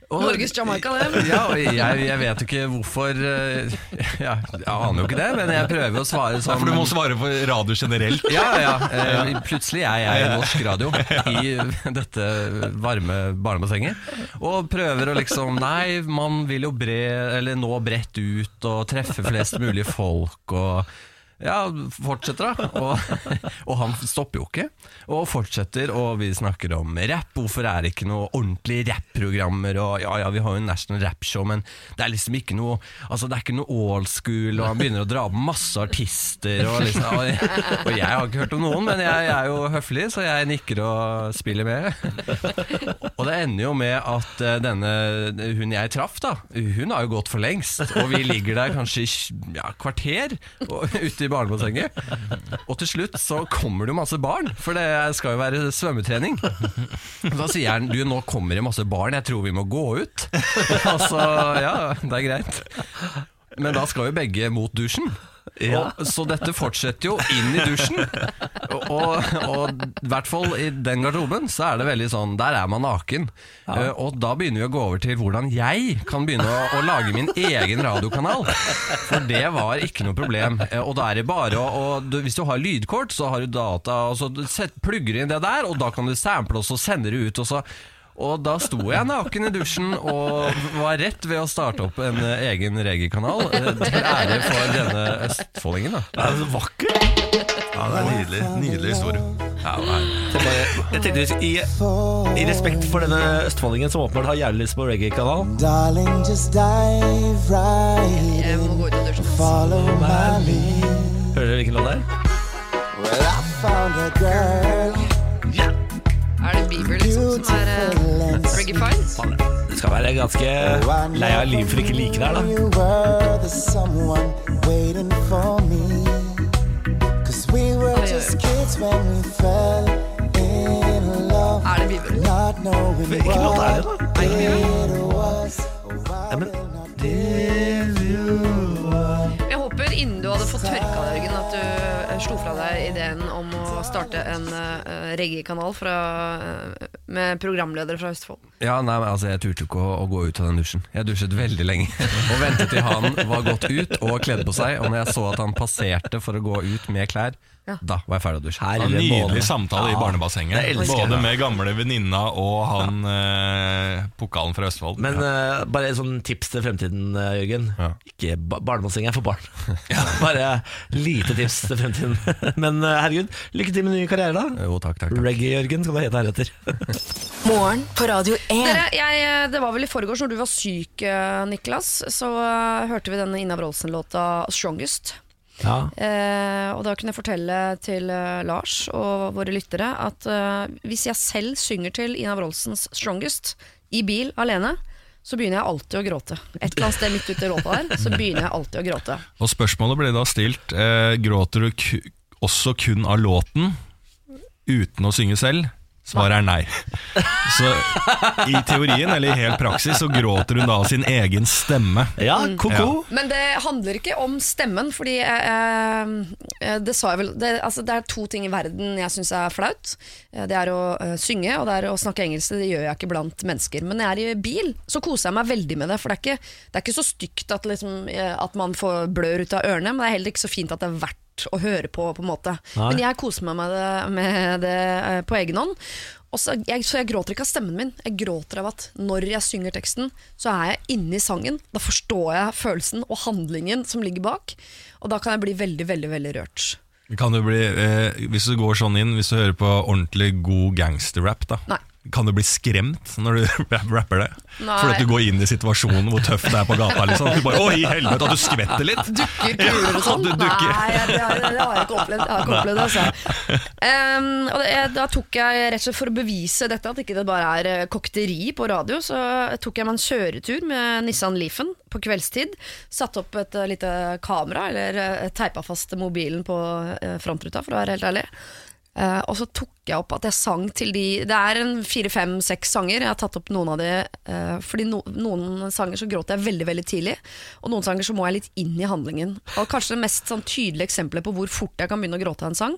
Og,
Norges Jamaica, det.
ja, og jeg, jeg vet jo ikke hvorfor eh, ja, Jeg aner jo ikke det, men jeg prøver å svare
Ja,
sånn.
for du må svare for radio generelt.
ja, ja, ja. Eh, Plutselig er jeg i norsk radio i dette varme barnebassenget. Og prøver å liksom Nei, man vil jo bre, eller nå bredt ut og treffe flest mulig folk og ja, fortsetter da og, og han stopper jo ikke Og fortsetter, og vi snakker om rap Hvorfor er det ikke noe ordentlige rap-programmer Og ja, ja, vi har jo en national rap show Men det er liksom ikke noe Altså, det er ikke noe old school Og han begynner å dra opp masse artister Og, liksom, og, og jeg har ikke hørt om noen Men jeg, jeg er jo høflig, så jeg nikker og spiller med Og det ender jo med at eh, denne Hun jeg traff da Hun har jo gått for lengst Og vi ligger der kanskje i tj- ja, kvarter og, Ute i barnebassenget Og til slutt så kommer det jo masse barn For det skal jo være svømmetrening Da sier han Du, nå kommer det masse barn Jeg tror vi må gå ut Altså, ja, det er greit men da skal jo begge mot dusjen. Og, så dette fortsetter jo inn i dusjen. Og, og, og i hvert fall i den garderoben så er det veldig sånn Der er man naken. Eh, og da begynner vi å gå over til hvordan jeg kan begynne å, å lage min egen radiokanal. For det var ikke noe problem. Eh, og da er det bare å og du, Hvis du har lydkort, så har du data, og så set, plugger du inn det der, og da kan du sample, og så sender du ut, og så og da sto jeg naken i dusjen og var rett ved å starte opp en eh, egen reggae-kanal. eh, Til ære for denne østfoldingen, da.
Det er så vakkert.
Ja, det er nydelig, nydelig historie.
Ja, nei.
Jeg bare- Jeg tenkte hvis- i, I respekt for denne østfoldingen som åpenbart har jævlig lyst på reggae-kanal
Darling, just dive right
Jeg må
in.
gå ut av dusjen. ass.
Follow my lead.
Hører dere hvilken låt det er?
Well, I found a girl,
Er det Bieber liksom som er
beautiful and
eh,
sweet.
Reggae Fine?
Du skal være ganske lei av livet for ikke å like det her, da.
You were the someone waiting for me. Cause we were just kids when we fell in love.
Er det Bieber?
Not knowing
Hvilken låt er det,
what
da?
it was.
Nei, men
Jeg håper innen du hadde fått tørka deg, Jørgen, at du eh, slo fra deg ideen om å starte en uh, reggae-kanal fra, eh, med programledere fra Østfold.
ja, nei, men altså, jeg turte ikke å, å gå ut av den dusjen. Jeg dusjet veldig lenge. Og ventet til han var gått ut og kledd på seg. Og når jeg så at han passerte for å gå ut med klær, da var jeg ferdig å dusje.
Herre
En nydelig
måne.
samtale i
jeg
barnebassenget.
elsker
Både
det.
med gamle venninna og han eh, pokalen fra Østfold.
Men eh, bare et sånn tips til fremtiden, eh, Jørgen.
Ja.
Ikke ba Barnebasseng er for barn. bare lite tips til fremtiden. Men eh, herregud, lykke til med ny karriere, da.
Jo, takk, takk, takk.
Reggae-Jørgen skal du hete heretter.
Morgen på Radio 1.
Dere, jeg, det var vel i forgårs når du var syk, eh, Niklas, så eh, hørte vi denne Ina Brolsen-låta 'Strongest'.
ja.
Eh, og da kunne jeg fortelle til eh, Lars og våre lyttere at eh, hvis jeg selv synger til Ina Wroldsens 'Strongest' i bil alene, så begynner jeg alltid å gråte. Et eller annet sted midt ute i låta der, så begynner jeg alltid å gråte.
Og spørsmålet ble da stilt eh, Gråter du ku også kun av låten Uten å synge selv
Svaret er nei. Så i teorien, eller i helt praksis, så gråter hun da av sin egen stemme.
Ja,
Mm.
ko-ko.
Men det handler ikke om stemmen, fordi eh, eh, det sa jeg vel det, altså, det er to ting i verden jeg syns er flaut. Eh, Det er å eh, synge, og det er å snakke engelsk. Det gjør jeg ikke blant mennesker. Men når jeg er i bil, så koser jeg meg veldig med det. For det er ikke, det er ikke så stygt at, liksom, eh, at man får blør ut av ørene, men det er heller ikke så fint at det er verdt å høre på, på en måte.
Nei.
Men jeg koser meg med det, med det eh, på egen hånd. Og så, jeg, så jeg gråter ikke av stemmen min. Jeg gråter av at når jeg synger teksten, så er jeg inne i sangen. Da forstår jeg følelsen og handlingen som ligger bak. Og da kan jeg bli veldig, veldig, veldig rørt.
Kan du bli, eh, hvis du går sånn inn, hvis du hører på ordentlig god gangsterrap, da
Nei.
kan du bli skremt når du rapper det?
Nei.
Fordi at du går inn i situasjonen hvor tøft det er på gata. Liksom. At du bare, Å, i helvete, at du skvetter litt!
Dukker, kuler og sånn?
Ja, du
Nei,
dukker.
det, har- det har jeg ikke opplevd. Jeg har ikke opplevd det, altså. Ehm, og det, da tok jeg, rett og slett for å bevise dette, at ikke det bare er eh, kokteri på radio, så tok jeg meg en kjøretur med Nissan Leafen på kveldstid. Satte opp et eh, lite kamera, eller eh, teipa fast mobilen på eh, frontruta, for å være helt ærlig. Eh, og så tok jeg opp at jeg sang til de Det er en fire, fem, seks sanger. Jeg har tatt opp noen av de. eh, fordi no, noen sanger så gråter jeg veldig veldig tidlig, og noen sanger så må jeg litt inn i handlingen. Og Kanskje det mest sånn, tydelige eksempelet på hvor fort jeg kan begynne å gråte av en sang,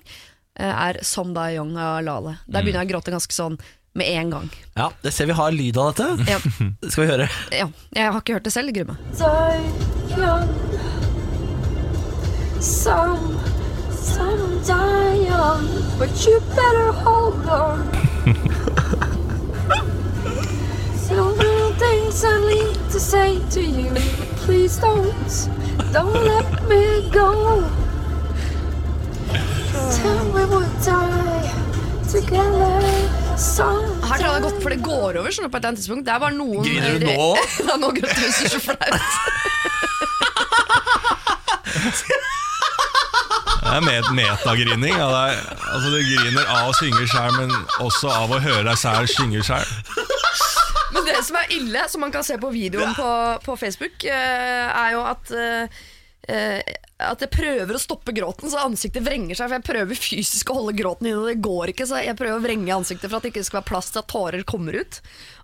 eh, er 'Someday Young' av Lale. Der begynner jeg å gråte ganske sånn med en gang.
Ja, det ser vi har lyd av dette.
Ja,
Skal vi høre?
ja, jeg har ikke hørt det selv, gruer meg.
Some, some die young, but you better hold on. so little things I need to say to you. Please don't, don't let me go. Till we will die together. Some.
Her tror jeg det har gått, for det går over sånn på et eller annet tidspunkt. Det er bare noen
Griner du nå?
Ja, nå gråter jeg så flaut.
Det er med metagrining. Ja, det er, altså, du griner av å synge sjæl, men også av å høre deg sjæl synge sjæl.
Men det som er ille, som man kan se på videoen på, på Facebook, eh, er jo at eh, eh, at jeg prøver å stoppe gråten, så ansiktet vrenger seg. For jeg prøver fysisk å holde gråten inne, og det går ikke. Så jeg prøver å vrenge ansiktet for at det ikke skal være plass til at tårer kommer ut.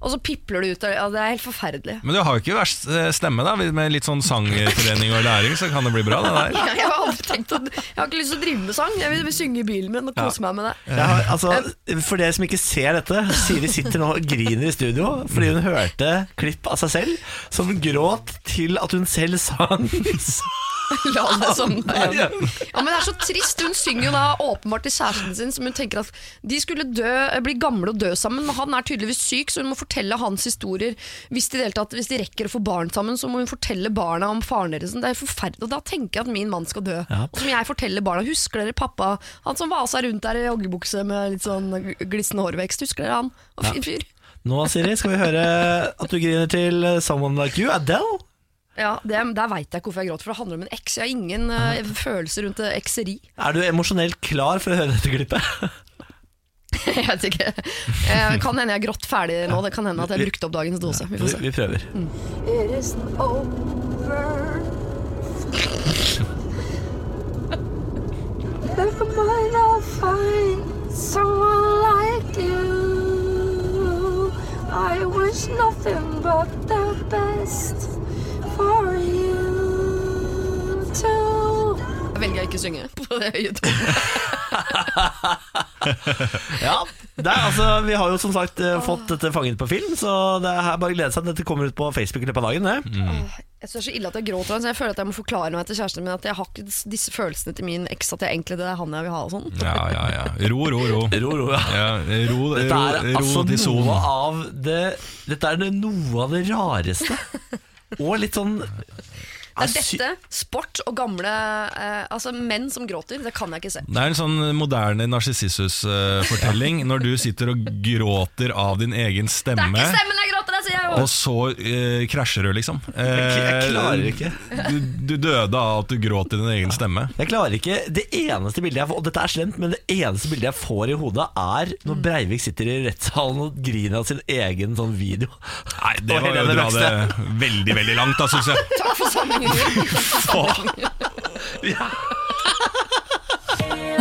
Og så pipler det ut. og- Ja, det er helt forferdelig.
Men du har jo ikke verst eh, stemme, da. Med litt sånn sangtrening og læring, så kan det bli bra, det der.
Jeg har aldri tenkt å, jeg har ikke lyst til å drive med sang. Jeg vil, vil synge i bilen min og kose meg med det.
Jeg har, altså, for dere som ikke ser dette, Siri sitter nå og griner i studio fordi hun hørte klipp av seg selv som gråt til at hun selv sang.
La det sånn ja. ja, men det er så trist. Hun synger jo da åpenbart til kjæresten sin, som hun tenker at de skulle dø, bli gamle og dø sammen, men han er tydeligvis syk, så hun må fortelle hans historier. Hvis de, i det hele tatt- hvis de rekker å få barn sammen, så må hun fortelle barna om faren deres. Det er forferdelig. Og da tenker jeg at min mann skal dø. Og som jeg forteller barna. Husker dere pappa, han som vasa rundt der i joggebukse med litt sånn glissende hårvekst? Husker dere han? Og fin fyr.
Nå, Siri, skal vi høre at du griner til Someone Like You, Adele.
Ja, det, Der veit jeg ikke hvorfor jeg gråter, for det handler om en eks. Jeg har ingen eh, følelser rundt eh, ekseri.
Er du emosjonelt klar for å høre dette klippet?
Jeg vet ikke. Eh, Kan hende jeg har grått ferdig nå. Det kan hende at jeg brukte opp dagens dose. Vi
Vi,
får se. Mm.
vi prøver.
It isn't over. Never mind, I'll find someone like you. I wish nothing but the best for you too.
Jeg velger jeg ikke å synge på det øyet.
Ja, det er, altså, Vi har jo som sagt eh, fått dette fanget på film, så det er her bare å glede seg til dette kommer ut på Facebook i løpet av dagen. Det.
Jeg synes det er så ille at jeg gråter, så jeg føler at jeg må forklare meg til kjæresten min at jeg har ikke disse følelsene til min eks, at jeg egentlig det er han jeg vil ha og sånn.
Ja, ja, ja. Ro, ro, ro.
Ro, ro, ja.
Ja, ro, ro,
Dette er
ro til
altså noe
solen.
av det Dette er det- noe av det rareste. Og litt sånn
Det er dette, sport og gamle eh, Altså menn som gråter, det kan jeg ikke se.
Det er en sånn moderne narsissus-fortelling når du sitter og gråter av din egen
Det er
stemme.
ikke stemmen jeg gråter, det sier jeg jo!
Og så eh, krasjer du, liksom.
Jeg klarer ikke.
Eh, Du, du døde av at du gråt i din egen stemme.
Jeg klarer ikke Det eneste bildet jeg får, og dette er slemt, men det eneste bildet jeg får i hodet, er når Breivik sitter i rettssalen og griner av sin egen sånn video.
Nei, det
Og
var jo å
Helene
dra det
Røgstad.
veldig, veldig langt, da, syns jeg.
Takk for samlingen din.
Faen.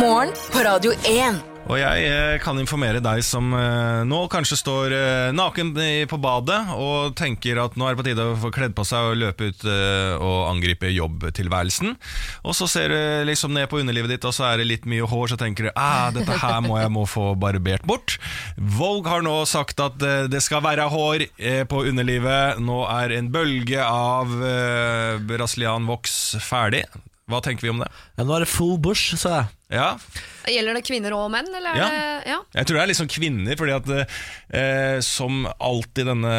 Morgen på Radio 1.
Og jeg eh, kan informere deg som eh, nå kanskje står eh, naken i- på badet og tenker at nå er det på tide å få kledd på seg og løpe ut eh, og angripe jobbtilværelsen. Og så ser du liksom ned på underlivet ditt, og så er det litt mye hår, så tenker du ah, dette her må jeg må få barbert bort. Vogue har nå sagt at eh, det skal være hår eh, på underlivet. Nå er en bølge av eh, brasilian voks ferdig. Hva tenker vi om det?
Ja, nå er det full bush, sa jeg.
Ja,
Gjelder det kvinner og menn, eller er
Ja.
det ja?
Jeg tror det er liksom kvinner, fordi at eh, som alltid i denne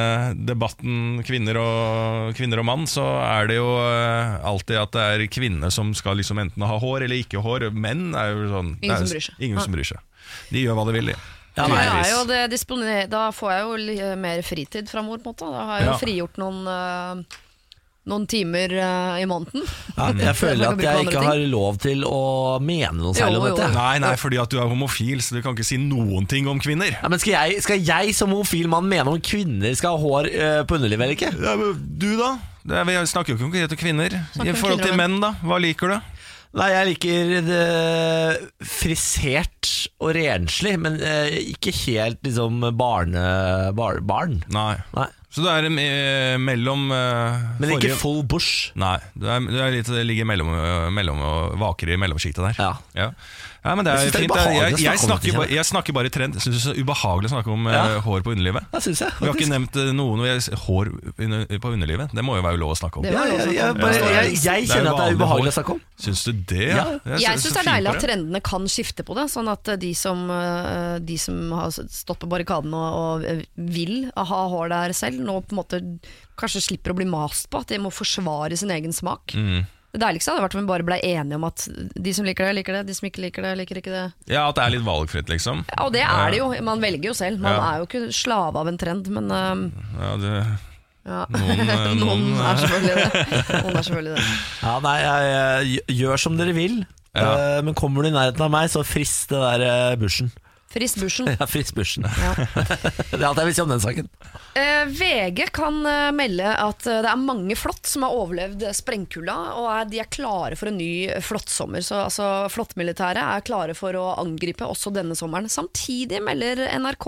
debatten kvinner og, kvinner og mann, så er det jo eh, alltid at det er kvinner som skal liksom enten ha hår eller ikke hår. Menn er jo sånn
Ingen
det er-
som bryr seg.
Ingen som bryr seg. De gjør hva de vil, de.
Ja,
Da,
nei.
er jo det dispone- da får jeg jo li- eh, mer fritid framover, på en måte. Da har jeg jo
Ja.
frigjort noen eh, noen timer eh, i måneden.
Ja, jeg føler at jeg ikke har lov til å mene noe særlig om
Jo, jo.
dette.
Nei, nei, fordi at du er homofil, så du kan ikke si noen ting om kvinner.
Ja, men skal jeg, skal jeg som homofil mann mene om kvinner skal ha hår eh, på underlivet eller ikke?
Ja, men du, da? Det er, vi snakker jo ikke konkret om kvinner.
om
I forhold
kvinner og
til menn, da. Hva liker du?
Nei, jeg liker det frisert og renslig, men eh, ikke helt liksom barne... Bar, barn.
Nei.
Nei.
Så du er eh, mellom eh,
Men
forrige-
ikke full bush.
Nei, du, er, du er litt, ligger mellom, mellom og vaker i mellomskiktet der.
Ja.
Ja. Ja, men det
Jeg
er
synes det er
fint. Jeg,
ubehagelig å
jeg, jeg,
snakke om det,
snakker,
kjenner
bare- jeg snakker bare i trend. Jeg synes det er ubehagelig å snakke om eh,
Ja.
hår på underlivet.
Det syns jeg.
Vi har ikke
faktisk.
nevnt eh, noen vi har- hår under- på underlivet. Det må jo være lov å snakke om.
Det var
Ja,
lov å
jeg,
snakke
jeg,
om.
bare, jeg, jeg
Det er
kjenner
jo
at det er
vanlig
ubehagelig
hår.
å snakke om.
Syns du det?
Ja.
Jeg syns det er
fint
deilig
for
at trendene kan skifte på det, sånn at de som, eh, de som har stått på barrikaden og, og vil ha hår der selv, nå på en måte kanskje slipper å bli mast på at de må forsvare sin egen smak.
Mm.
Det deiligste hadde vært om vi bare ble enige om at de som liker det, liker det, de som ikke liker det, liker ikke det.
Ja, At det er litt valgfritt, liksom.
Ja, og det er det jo, man velger jo selv. Man
Ja.
er jo ikke slave av en trend, men eh,
Ja, det,
ja.
Noen, eh,
noen
noen, eh.
er selvfølgelig det. Noen er selvfølgelig det.
Ja, nei, jeg, jeg, gjør som dere vil,
Ja.
eh, men kommer du i nærheten av meg, så frist det der eh, bushen.
Frist bushen.
Ja, frist bushen.
Ja.
Det er alt jeg vil si om den saken.
Eh, VG kan eh, melde at eh, det er mange flått som har overlevd eh, sprengkulda, og er, de er klare for en ny eh, flåttsommer. Så altså, flåttmilitæret er klare for å angripe også denne sommeren. Samtidig melder NRK,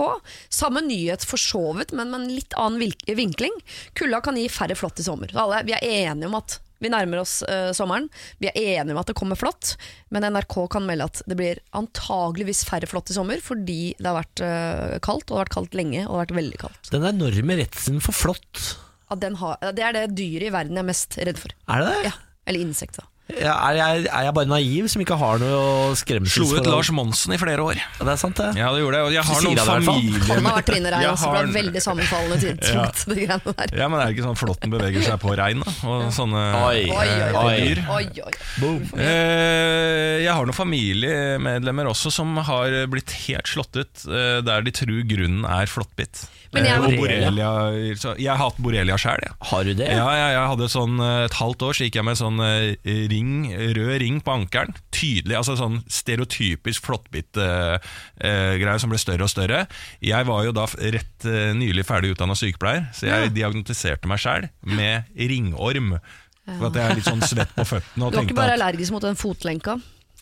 samme nyhet for så vidt, men med en litt annen vil- vinkling, kulda kan gi færre flått i sommer. Så alle, vi er enige om at vi nærmer oss eh, sommeren. Vi er enige om at det kommer flått, men NRK kan melde at det blir antageligvis færre flått i sommer fordi det har vært eh, kaldt, og det har vært kaldt lenge, og det har vært veldig kaldt.
Den enorme redselen for flått,
Ja, den har, det er det dyret i verden jeg er mest redd for.
er det det?
Ja, Eller insekt, da.
Ja, er, jeg, er jeg bare naiv som ikke har noe skremsel?
slo ut
for-
Lars Monsen i flere år.
Ja, det er sant, det.
Ja, det gjorde jeg. Og jeg har
Du sier
noen
det i hvert fall.
familie...
Han har vært Trine Rein
Jeg
også, for det
har-
er veldig sammenfallende tidspunkt. det greiene der.
Ja, men er det ikke sånn flåtten beveger seg på rein, da? Og sånne
Oi,
Oi, oi,
eh,
oi.
oi.
dyr.
oi, oi.
Eh, jeg har noen familiemedlemmer også som har blitt helt slått ut eh, der de tror grunnen er flåttbitt.
Men jeg-
Eh, og borrelia så Jeg har hatt borrelia sjøl, jeg.
Har du det?
Ja, ja, jeg hadde sånn eh, et halvt år så gikk jeg med sånn eh, ring, rød ring på ankelen. Tydelig, altså sånn stereotypisk flåttbitt eh, eh, greie som ble større og større. Jeg var jo da f- rett eh, nylig ferdig utdanna sykepleier, så jeg diagnostiserte meg sjæl med ringorm. For at jeg er litt sånn svett på føttene. Og
Du var ikke
tenkte
bare
at-
allergisk mot den fotlenka.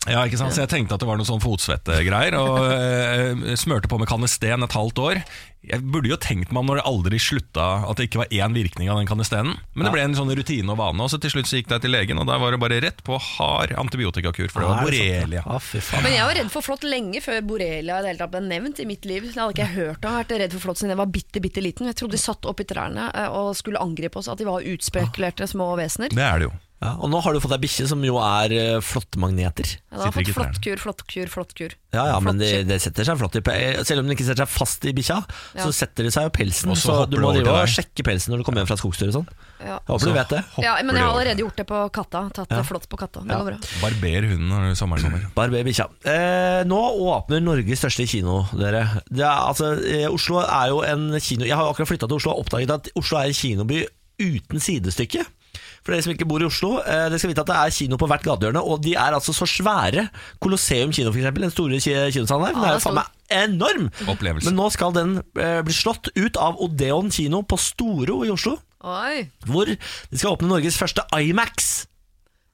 ja, ikke sant? Så jeg tenkte at det var noe sånn fotsvettegreier, og eh, smørte på med kanesten et halvt år. Jeg burde jo tenkt meg om når det aldri slutta at det ikke var én virkning av den kanestenen. Men det ble en sånn rutine og vane, og så til slutt så gikk jeg til legen, og der var det bare rett på hard antibiotikakur, for det var
Er det sant?
borrelia.
Ja, fy faen.
Men jeg var redd for flått lenge før borrelia i det hele tatt ble nevnt i mitt liv. Det hadde ikke jeg hørt om. Jeg har vært redd for flått siden jeg var bitte, bitte liten. Jeg trodde de satt oppi trærne eh, og skulle angripe oss, at de var utspekulerte små vesener.
Det er det jo.
Ja, og nå har du fått deg bikkje, som jo er eh, flåttmagneter.
Ja, da har jeg
Sitter
fått
ikke i trærne.
flåttkur, flåttkur, flåttkur.
Ja, ja, men det,
Flåttskinn.
det setter seg flott i pe- eh, Selv om den ikke setter seg fast i bikkja,
Ja.
så setter det seg jo pelsen.
Og så
Så,
hopper
du
det
må
over til
drive og
deg.
sjekke pelsen når du kommer hjem fra skogstur og sånn.
Ja.
Jeg håper du vet det.
ja, men jeg har allerede gjort det på katta. Tatt eh, flått på katta. Det går bra.
Barber hunden når sommeren kommer.
Barber bikkja. Eh, nå åpner Norges største kino, dere. Det er, altså, eh, Oslo er jo en kino Jeg har jo akkurat flytta til Oslo og oppdaget at Oslo er en kinoby uten sidestykke. For dere som ikke bor i Oslo, eh, dere skal vite at det er kino på hvert gatehjørne. Og de er altså så svære. Colosseum kino, f.eks. Den store ki- kinosalen der. Den
Ja,
er
den
jo
står-
faen meg enorm!
Opplevelse.
Men nå skal den eh, bli slått ut av Odeon kino på Storo i Oslo.
Oi.
Hvor de skal åpne Norges første Imax.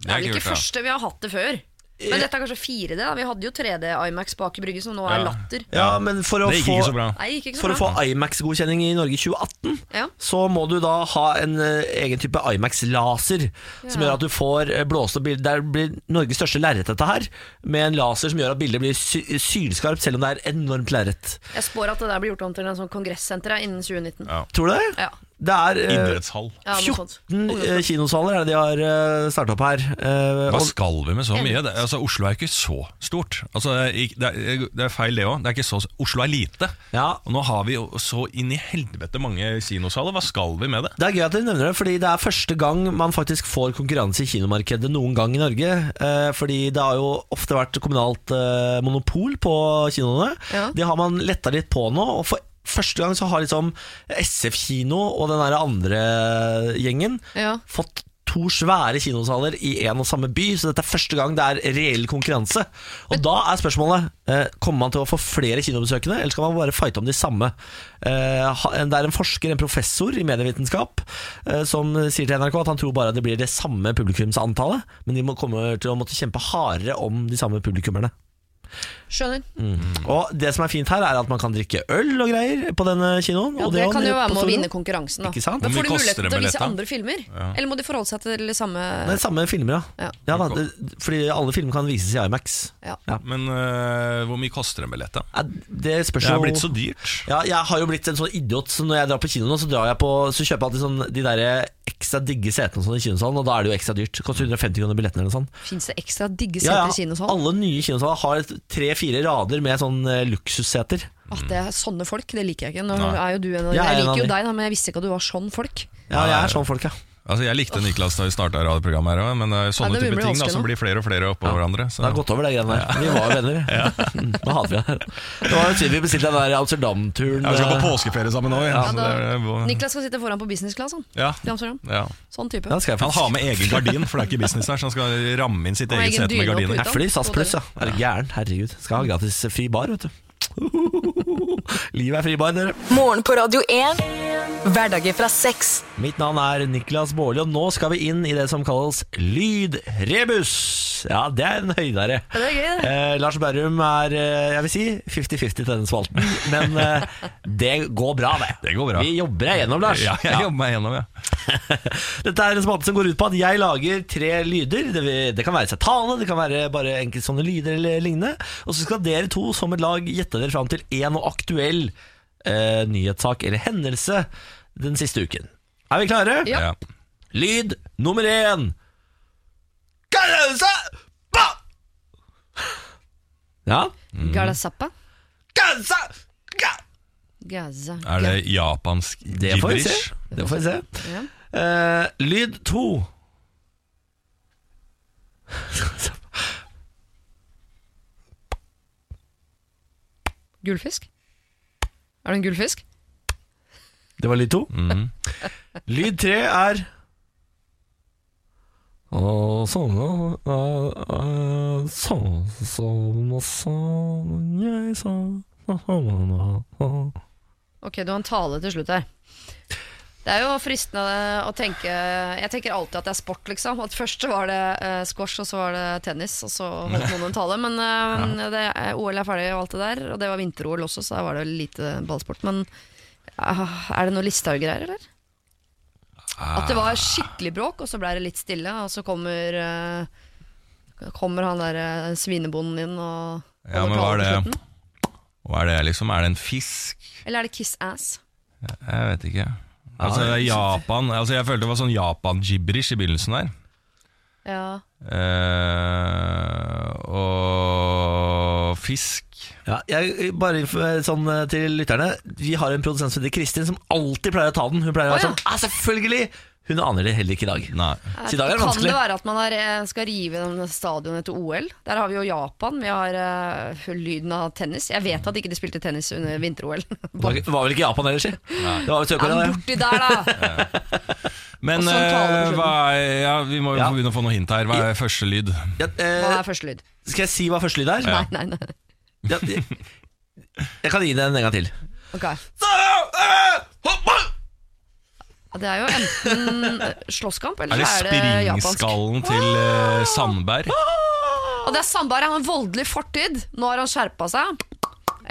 Det er vel
kult,
ikke
ja.
første vi har hatt det før. Men dette er kanskje 4D. da Vi hadde jo 3D IMAX bak i brygget, som nå er
Ja.
latter.
Ja, men for å
Det gikk
få,
ikke så bra.
Nei, det gikk ikke så
For å få
bra.
IMAX-godkjenning i Norge i 2018,
Ja.
så må du da ha en eh, egen type IMAX-laser, som
Ja.
gjør at du får eh, blåst opp bildet. Det blir Norges største lerret, dette her, med en laser som gjør at bildet blir sy sylskarpt, selv om det er enormt lerret.
Jeg spår at det der blir gjort om til en sånn kongressenter ja, innen 2019.
Ja.
Tror du det?
Ja.
Det er eh,
Idrettshall.
Ja, noe sånt.
14 eh, kinosaler er det de har starta opp her. eh,
Hva
og-
skal vi med så mye? Det, altså, Oslo er ikke så stort. Altså, det, er, ikke- det er feil, det òg. Det er ikke så Oslo er lite.
Ja.
Og nå har vi jo så inn i helvete mange kinosaler. Hva skal vi med det?
Det er gøy at dere nevner det, fordi det er første gang man faktisk får konkurranse i kinomarkedet noen gang i Norge. Eh, fordi det har jo ofte vært kommunalt eh, monopol på kinoene.
Ja.
Det har man letta litt på nå. og for Første gang så har liksom SF kino og den der andre gjengen
Ja.
fått to svære kinosaler i én og samme by, så dette er første gang det er reell konkurranse. Og da er spørsmålet eh, Kommer man til å få flere kinobesøkende, eller skal man bare fighte om de samme? Eh, ha- det er en forsker, en professor i medievitenskap, eh, som sier til NRK at han tror bare at det blir det samme publikumsantallet, men de må kommer til å måtte kjempe hardere om de samme publikummerne.
Skjønner. Mm.
Og det som er fint her, er at man kan drikke øl og greier på denne kinoen.
Ja,
og
det,
er jo
kan jo
nede
være
på
med å
Storo.
vinne konkurransen. Da.
Ikke sant?
Da
Hvor mye
får de
koster det
mulighet til å
billett,
vise
da?
andre filmer. Eller må de forholde seg til det samme
Det er samme filmer, ja.
Ja.
ja da, det, fordi alle filmer kan vises i Imax.
Ja.
Men øh, hvor mye koster en billett, da?
Ja, Det spørs
Det
jo
er blitt så dyrt.
ja, Jeg har jo blitt en sånn idiot, så når jeg drar på kino nå, så, drar jeg på, så kjøper jeg alltid sånn, de der ekstra digge setene og sånn i kinosalen, og da er det jo ekstra dyrt. Det
Mm.
Koster 150 kroner billetten eller noe sånt.
Fins det ekstra digge
Ja,
seter
ja,
i sånn? kinosalen?
alle nye kinosaler har et- tre-fire rader med sånn eh, luksusseter.
At det er sånne folk, det liker jeg ikke. Nå
Nei.
er jo du en av de.
Jeg er en
Jeg
av
liker jo
de.
deg, da, men jeg visste ikke at du var sånn folk.
Ja, jeg er sånn folk, ja.
Altså, Jeg likte Niklas da vi starta radioprogrammet, her, også, men
eh,
det er jo sånne
det
type ting
blir
da,
vanskelig
som
nå.
blir flere og flere oppå hverandre. Så.
Det har gått over, de greiene der. Vi var jo venner. Mm, Nå hater vi det. Det var jo synd vi bestilte den der Amsterdam-turen.
Ja, vi skal
eh,
på påskeferie sammen òg. Ja,
Ja,
så
da-
det er-
Niklas skal sitte foran på business class, han.
ja,
i Amsterdam.
ja.
Sånn type.
Ja, det skal jeg
Han
faktisk.
har med egen gardin, for det er ikke business her, så han skal ramme inn sitt
Og
eget
egen
sete med
dyne opp
gardiner.
ut.
Jeg flyr SAS pluss, ja. Er du gæren? Herregud. Skal ha gratis fri bar, vet du. Livet er fri bar, dere.
Morgen på Radio 1. Hverdager fra seks.
Mitt navn er Niklas Baarli, og nå skal vi inn i det som kalles lydrebus. Ja, det er en høydere.
Ja, det er gøy, det.
Eh, Lars Berrum er, eh, jeg vil si, 50-50 til denne spalten, men eh, det går bra, det.
Det går bra.
Vi jobber deg gjennom, Lars.
Ja, jeg jobber meg gjennom, ja.
Dette er en spalte som går ut på at jeg lager tre lyder. Det, vil- det kan være satane, det kan være bare enkelte sånne lyder eller lignende. Og så skal dere to som et lag gjette dere fram til én og aktuell eh, nyhetssak eller hendelse den siste uken. Er vi klare?
Ja.
ja.
Lyd nummer én. Karausa! Ba! Ja.
Galasappa.
Karausa! Ga!
Gaza.
Er det japansk
Det får vi se.
gibberish?
Det får vi se.
Ja.
Eh, lyd to.
Gullfisk? Er det en gullfisk?
Det var lyd to.
Mhm.
Lyd tre er Og sånn Sånn som og sånn jeg sa sånn,
Ok, du har en tale til slutt her. Det er jo fristende å tenke Jeg tenker alltid at det er sport, liksom. At først så var det eh, squash, og så var det tennis, og så holdt noen en tale. Men eh, det, er- OL er ferdig og alt det der, og det var vinter-OL også, så der var det lite ballsport. Men ah, er det noe Listhaug-greier, eller? At det var skikkelig bråk, og så ble det litt stille, og så kommer eh, Kommer han der eh, svinebonden inn og
Ja,
holder
men
tale
hva er
på
det?
slutten?
Hva er det, liksom? Er det en fisk?
Eller er det kiss ass?
Jeg vet ikke. Altså, det er Japan altså, Jeg følte det var sånn Japan-gibberish i begynnelsen der.
Ja.
Eh, og fisk
Ja, jeg, bare inf- sånn eh, til lytterne Vi har en produsent som heter Kristin Som alltid pleier å ta den Hun pleier å være
Å, ja.
sånn, ja selvfølgelig Hun aner det heller ikke i dag
Nei.
Så i dag er det
Kan det
vanskelig
være at man er, eh, skal rive den stadionet til OL? Der har vi jo Japan, vi har eh, lyden av tennis. Jeg vet at ikke de spilte tennis under vinter-OL.
Det var, ikke- var vel ikke Japan ellers i? Det var vel
Ja,
Sør-Korea
men
det.
borti der, da!
Men
Og sånn
eh,
taler du selv.
hva er, ja, vi må jo
Ja.
få begynne å få noen hint her. Hva er første lyd?
ja,
Hva
eh,
er første lyd?
Skal jeg si hva første lyd er?
Nei, nei, nei.
Ja, jeg, jeg kan gi det en gang til
Ok. Ja,
eh,
det er jo enten eh, slåsskamp,
Er
eller
det
så er det japansk.
springskallen til eh, Sandberg?
Og det er Sandberg han har en voldelig fortid. Nå har han skjerpa seg.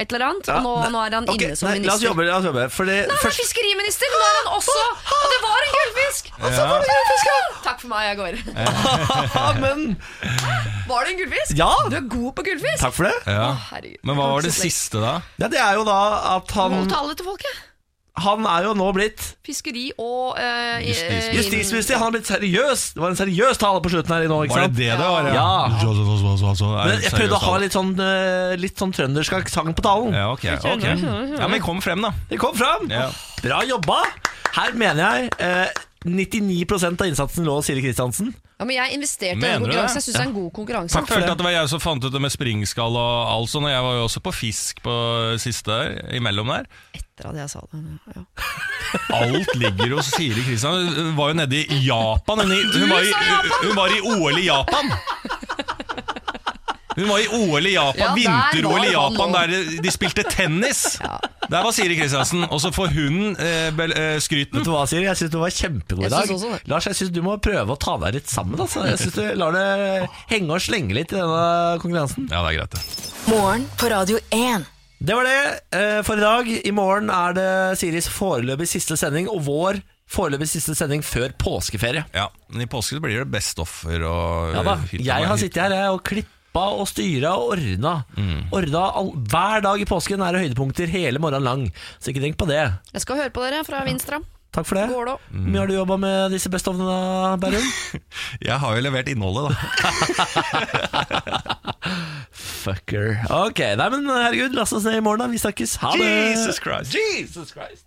Et eller annet.
Ja,
Og nå,
nei,
nå er han
ok,
inne som
nei,
minister.
La oss jobbe. La oss jobbe for det,
Nei, han er
først,
fiskeriminister! Nå er han også Og det var en gullfisk! Og så var det gullfisk! ja. Takk for meg, jeg går.
ah, Amen.
Var det en gullfisk?
Ja.
Du er god på gullfisk!
Takk for det.
Ja.
Å, herregud.
Men hva var det siste, da?
Ja, det er jo da at
Må
han
tale til folket.
Han er jo nå blitt
Fiskeri og eh, i-
Justisminister.
justisminister. Han har blitt seriøs. Det var en seriøs tale på slutten her i nå, ikke
Var
sant?
det det det var?
Ja. Men
Men
jeg prøvde å ha litt sånn, eh, litt sånn trøndersk aksent på talen.
Ja, ok. ok Ja, Men kom frem, da.
Det kom fram!
Ja.
Bra jobba! Her mener jeg eh, 99 av innsatsen lå hos Siri Kristiansen.
Ja, men jeg investerte i
Mener du det?
den konkurransen. Jeg syns det er en god konkurranse.
Jeg følte at det var jeg som fant ut det med springskall og alt sånt. og Jeg var jo også på fisk på siste der, imellom der.
Etter at jeg sa det. Ja.
Alt ligger hos Siri Kristian. Hun var jo nede i Japan. Hun, i, hun, var, i, hun var i OL i Japan! Hun var i OL i
Ja, der
Japan, vinter-OL i
var han
Japan,
nå.
der de spilte tennis! Der var Siri Kristiansen. Og så får hun eh, bel- eh, skryten.
Vet du hva, Siri? Jeg syns du var kjempegod i
Jeg
dag.
synes også det.
Lars, jeg syns du må prøve å ta deg litt sammen. Altså. Jeg synes du Lar det henge og slenge litt i denne konkurransen.
Ja, det er greit, det.
Morgen på Radio 1.
Det var det eh, for i dag. I morgen er det Siris foreløpig siste sending, og vår foreløpig siste sending før påskeferie.
Ja, men I påsken blir det best offer og
Ja da,
hytta-
Jeg har sittet her jeg, og klippa og styra og ordna. ordna all, hver dag i påsken er det høydepunkter hele morgenen lang, så ikke tenk på det.
Jeg skal høre på dere fra Vinstra.
Takk for det.
Går det opp?
Hvor mye har du jobba med disse Best of-ene, Bærum?
Jeg har jo levert innholdet, da.
Fucker. Ok, nei, men herregud, last oss ned i morgen, da. Vi snakkes. Ha det!
Jesus Christ. Jesus Christ.